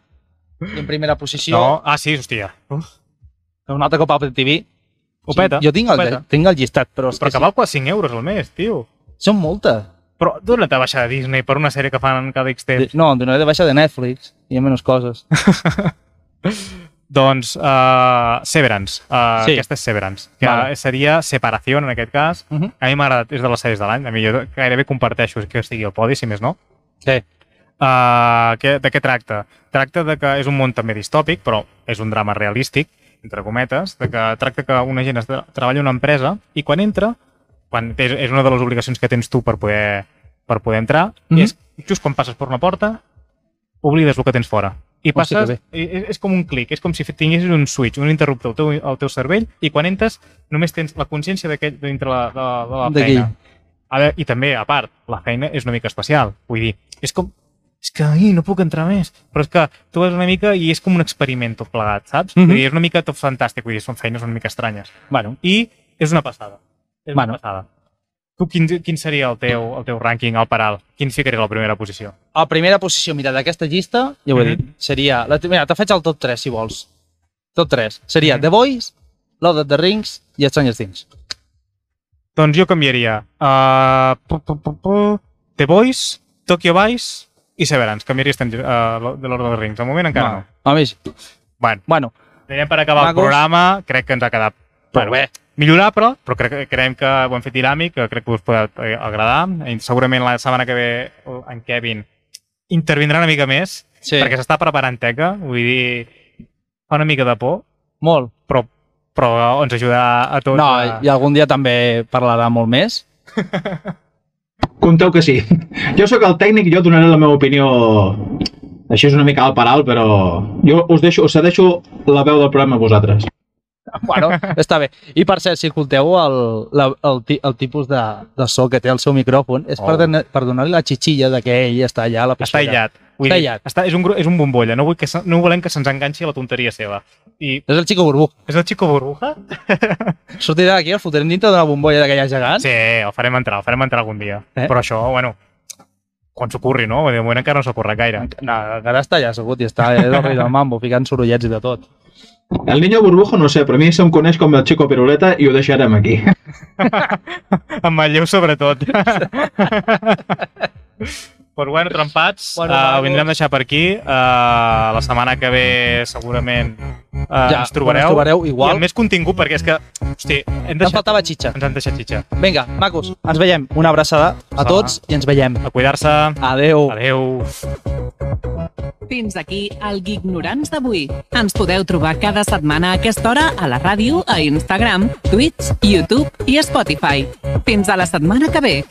B: i en primera posició,
C: No. Ah, sí, hòstia. Uf,
B: no. un altre cop Apple TV.
C: ho peta.
B: Sí, jo tinc
C: Ho
B: el,
C: peta.
B: tinc el llistat, però, és
C: Però
B: que
C: que val quasi 5 euros al mes, tio.
B: sí, són moltes.
C: Però d'on et va baixar de Disney per una sèrie que fan cada X temps?
B: De- No, em donaré de baixa de Netflix. Hi ha menys coses.
C: Doncs uh, Severance. Uh,
B: Sí.
C: sí. Aquesta és Severance. Que
B: Vale.
C: vale. seria Separació, en aquest cas.
B: Mhm.
C: A mi m'ha agradat, és de les sèries de l'any. A mi jo gairebé comparteixo que estigui al podi, si més no.
B: Sí.
C: Uh, què, de què tracta? Tracta de que és un món també distòpic, però és un drama realístic, entre cometes, de que tracta que una gent es tra- treballa a una empresa i quan entra, quan és, és una de les obligacions que tens tu per poder, per poder entrar, mm
B: Mhm.
C: -hmm. és just quan passes per una porta, oblides el que tens fora. I
B: Hòstia,
C: passes,
B: que bé.
C: i- és, és com un clic, és com si tinguessis un switch, un interruptor al teu, al teu cervell, i quan entres només tens la consciència d'aquell dintre la, de, de la
B: D'aquell.
C: feina. A veure, I també, a part, la feina és una mica especial. Vull dir, és com... És que ai, no puc entrar més. Però és que tu vas una mica i és com un experiment tot plegat, saps? Mm -hmm.
B: Mhm.
C: Vull dir, és una mica tot fantàstic. Vull dir, són feines una mica estranyes.
B: Bueno,
C: I és una passada. És
B: Bueno.
C: una passada. Tu, quin, quin seria el teu, el teu rànquing al paral? Quin ficaria a la primera posició?
B: a primera posició, mira, d'aquesta llista, ja ho he
C: Mhm.
B: dit, seria... La, mira, te faig el top 3, si vols. Top 3. Seria
C: Mhm.
B: The Boys, Lord of the Rings i Stranger Things.
C: Doncs jo canviaria a... pu, pu, pu, pu, The Boys, Tokyo Vice i Severance. Canviaria Stranger- eh, de l'Ordre dels Rings. De moment encara no. no.
B: A més,
C: Bueno,
B: bueno,
C: anirem per acabar
B: Magos. eh?
C: el programa. Crec que ens ha quedat
B: però bé,
C: millorable, però crec, creiem que ho hem fet dinàmic, que crec que us podrà eh, agradar. I segurament la setmana que ve eh, en Kevin intervindrà una mica més,
B: sí,
C: perquè s'està preparant teca, vull dir, fa una mica de por,
B: molt.
C: però, però ens ajudarà a tots.
B: No,
C: a...
B: i algun dia també parlarà molt més.
D: Compteu que sí. Jo sóc el tècnic, jo donaré la meva opinió... Això és una mica al paral, però jo us deixo, us cedeixo la veu del programa a vosaltres.
B: Bueno, està bé. I per cert, si escolteu el, la, el, ti- el tipus de, de so que té el seu micròfon, és oh. per,
C: Oh.
B: donar- per donar-li la xixilla de que ell està allà a la
C: Està
B: pixera.
C: aïllat. Vull
B: Està
C: dir,
B: aïllat.
C: Està, és, un, gru- és un bombolla, no, vull que, se- no volem que se'ns enganxi a la tonteria seva. I
B: És el Chico Burbú.
C: és el Chico Burbuja?
B: Ah. Sortirà d'aquí, el fotrem dintre d'una bombolla d'aquella gegant.
C: Sí, el farem entrar, el farem entrar algun dia.
B: Eh?
C: Eh? Però això, bueno, quan s'ocorri, no? Vull dir, De moment encara no s'ocorre gaire.
B: No, encara està allà assegut i està és el rei del mambo, ficant sorollets i de tot.
D: El niño burbujo no sé, però a mi se'm coneix com el Chico Piruleta i ho deixarem aquí.
C: Amb Manlleu, sobretot. Però bueno, trempats,
B: Bueno, vamos.
C: bueno, uh, ho vindrem a deixar per aquí. Uh, la setmana que ve segurament uh, ja, ens trobareu.
B: Ens trobareu
C: I
B: igual.
C: amb més contingut, perquè és que, hosti, hem
B: Ens
C: deixat,
B: faltava xitxa.
C: ens han deixat xitxa.
B: Vinga, macos, ens veiem. Una abraçada a tots i ens veiem.
C: A cuidar-se. Oh.
B: Adeu.
C: Adeu.
A: Fins aquí el Gignorants d'avui. Ens podeu trobar cada setmana a aquesta hora a la ràdio, a Instagram, Twitch, YouTube i Spotify. Fins a la setmana que ve.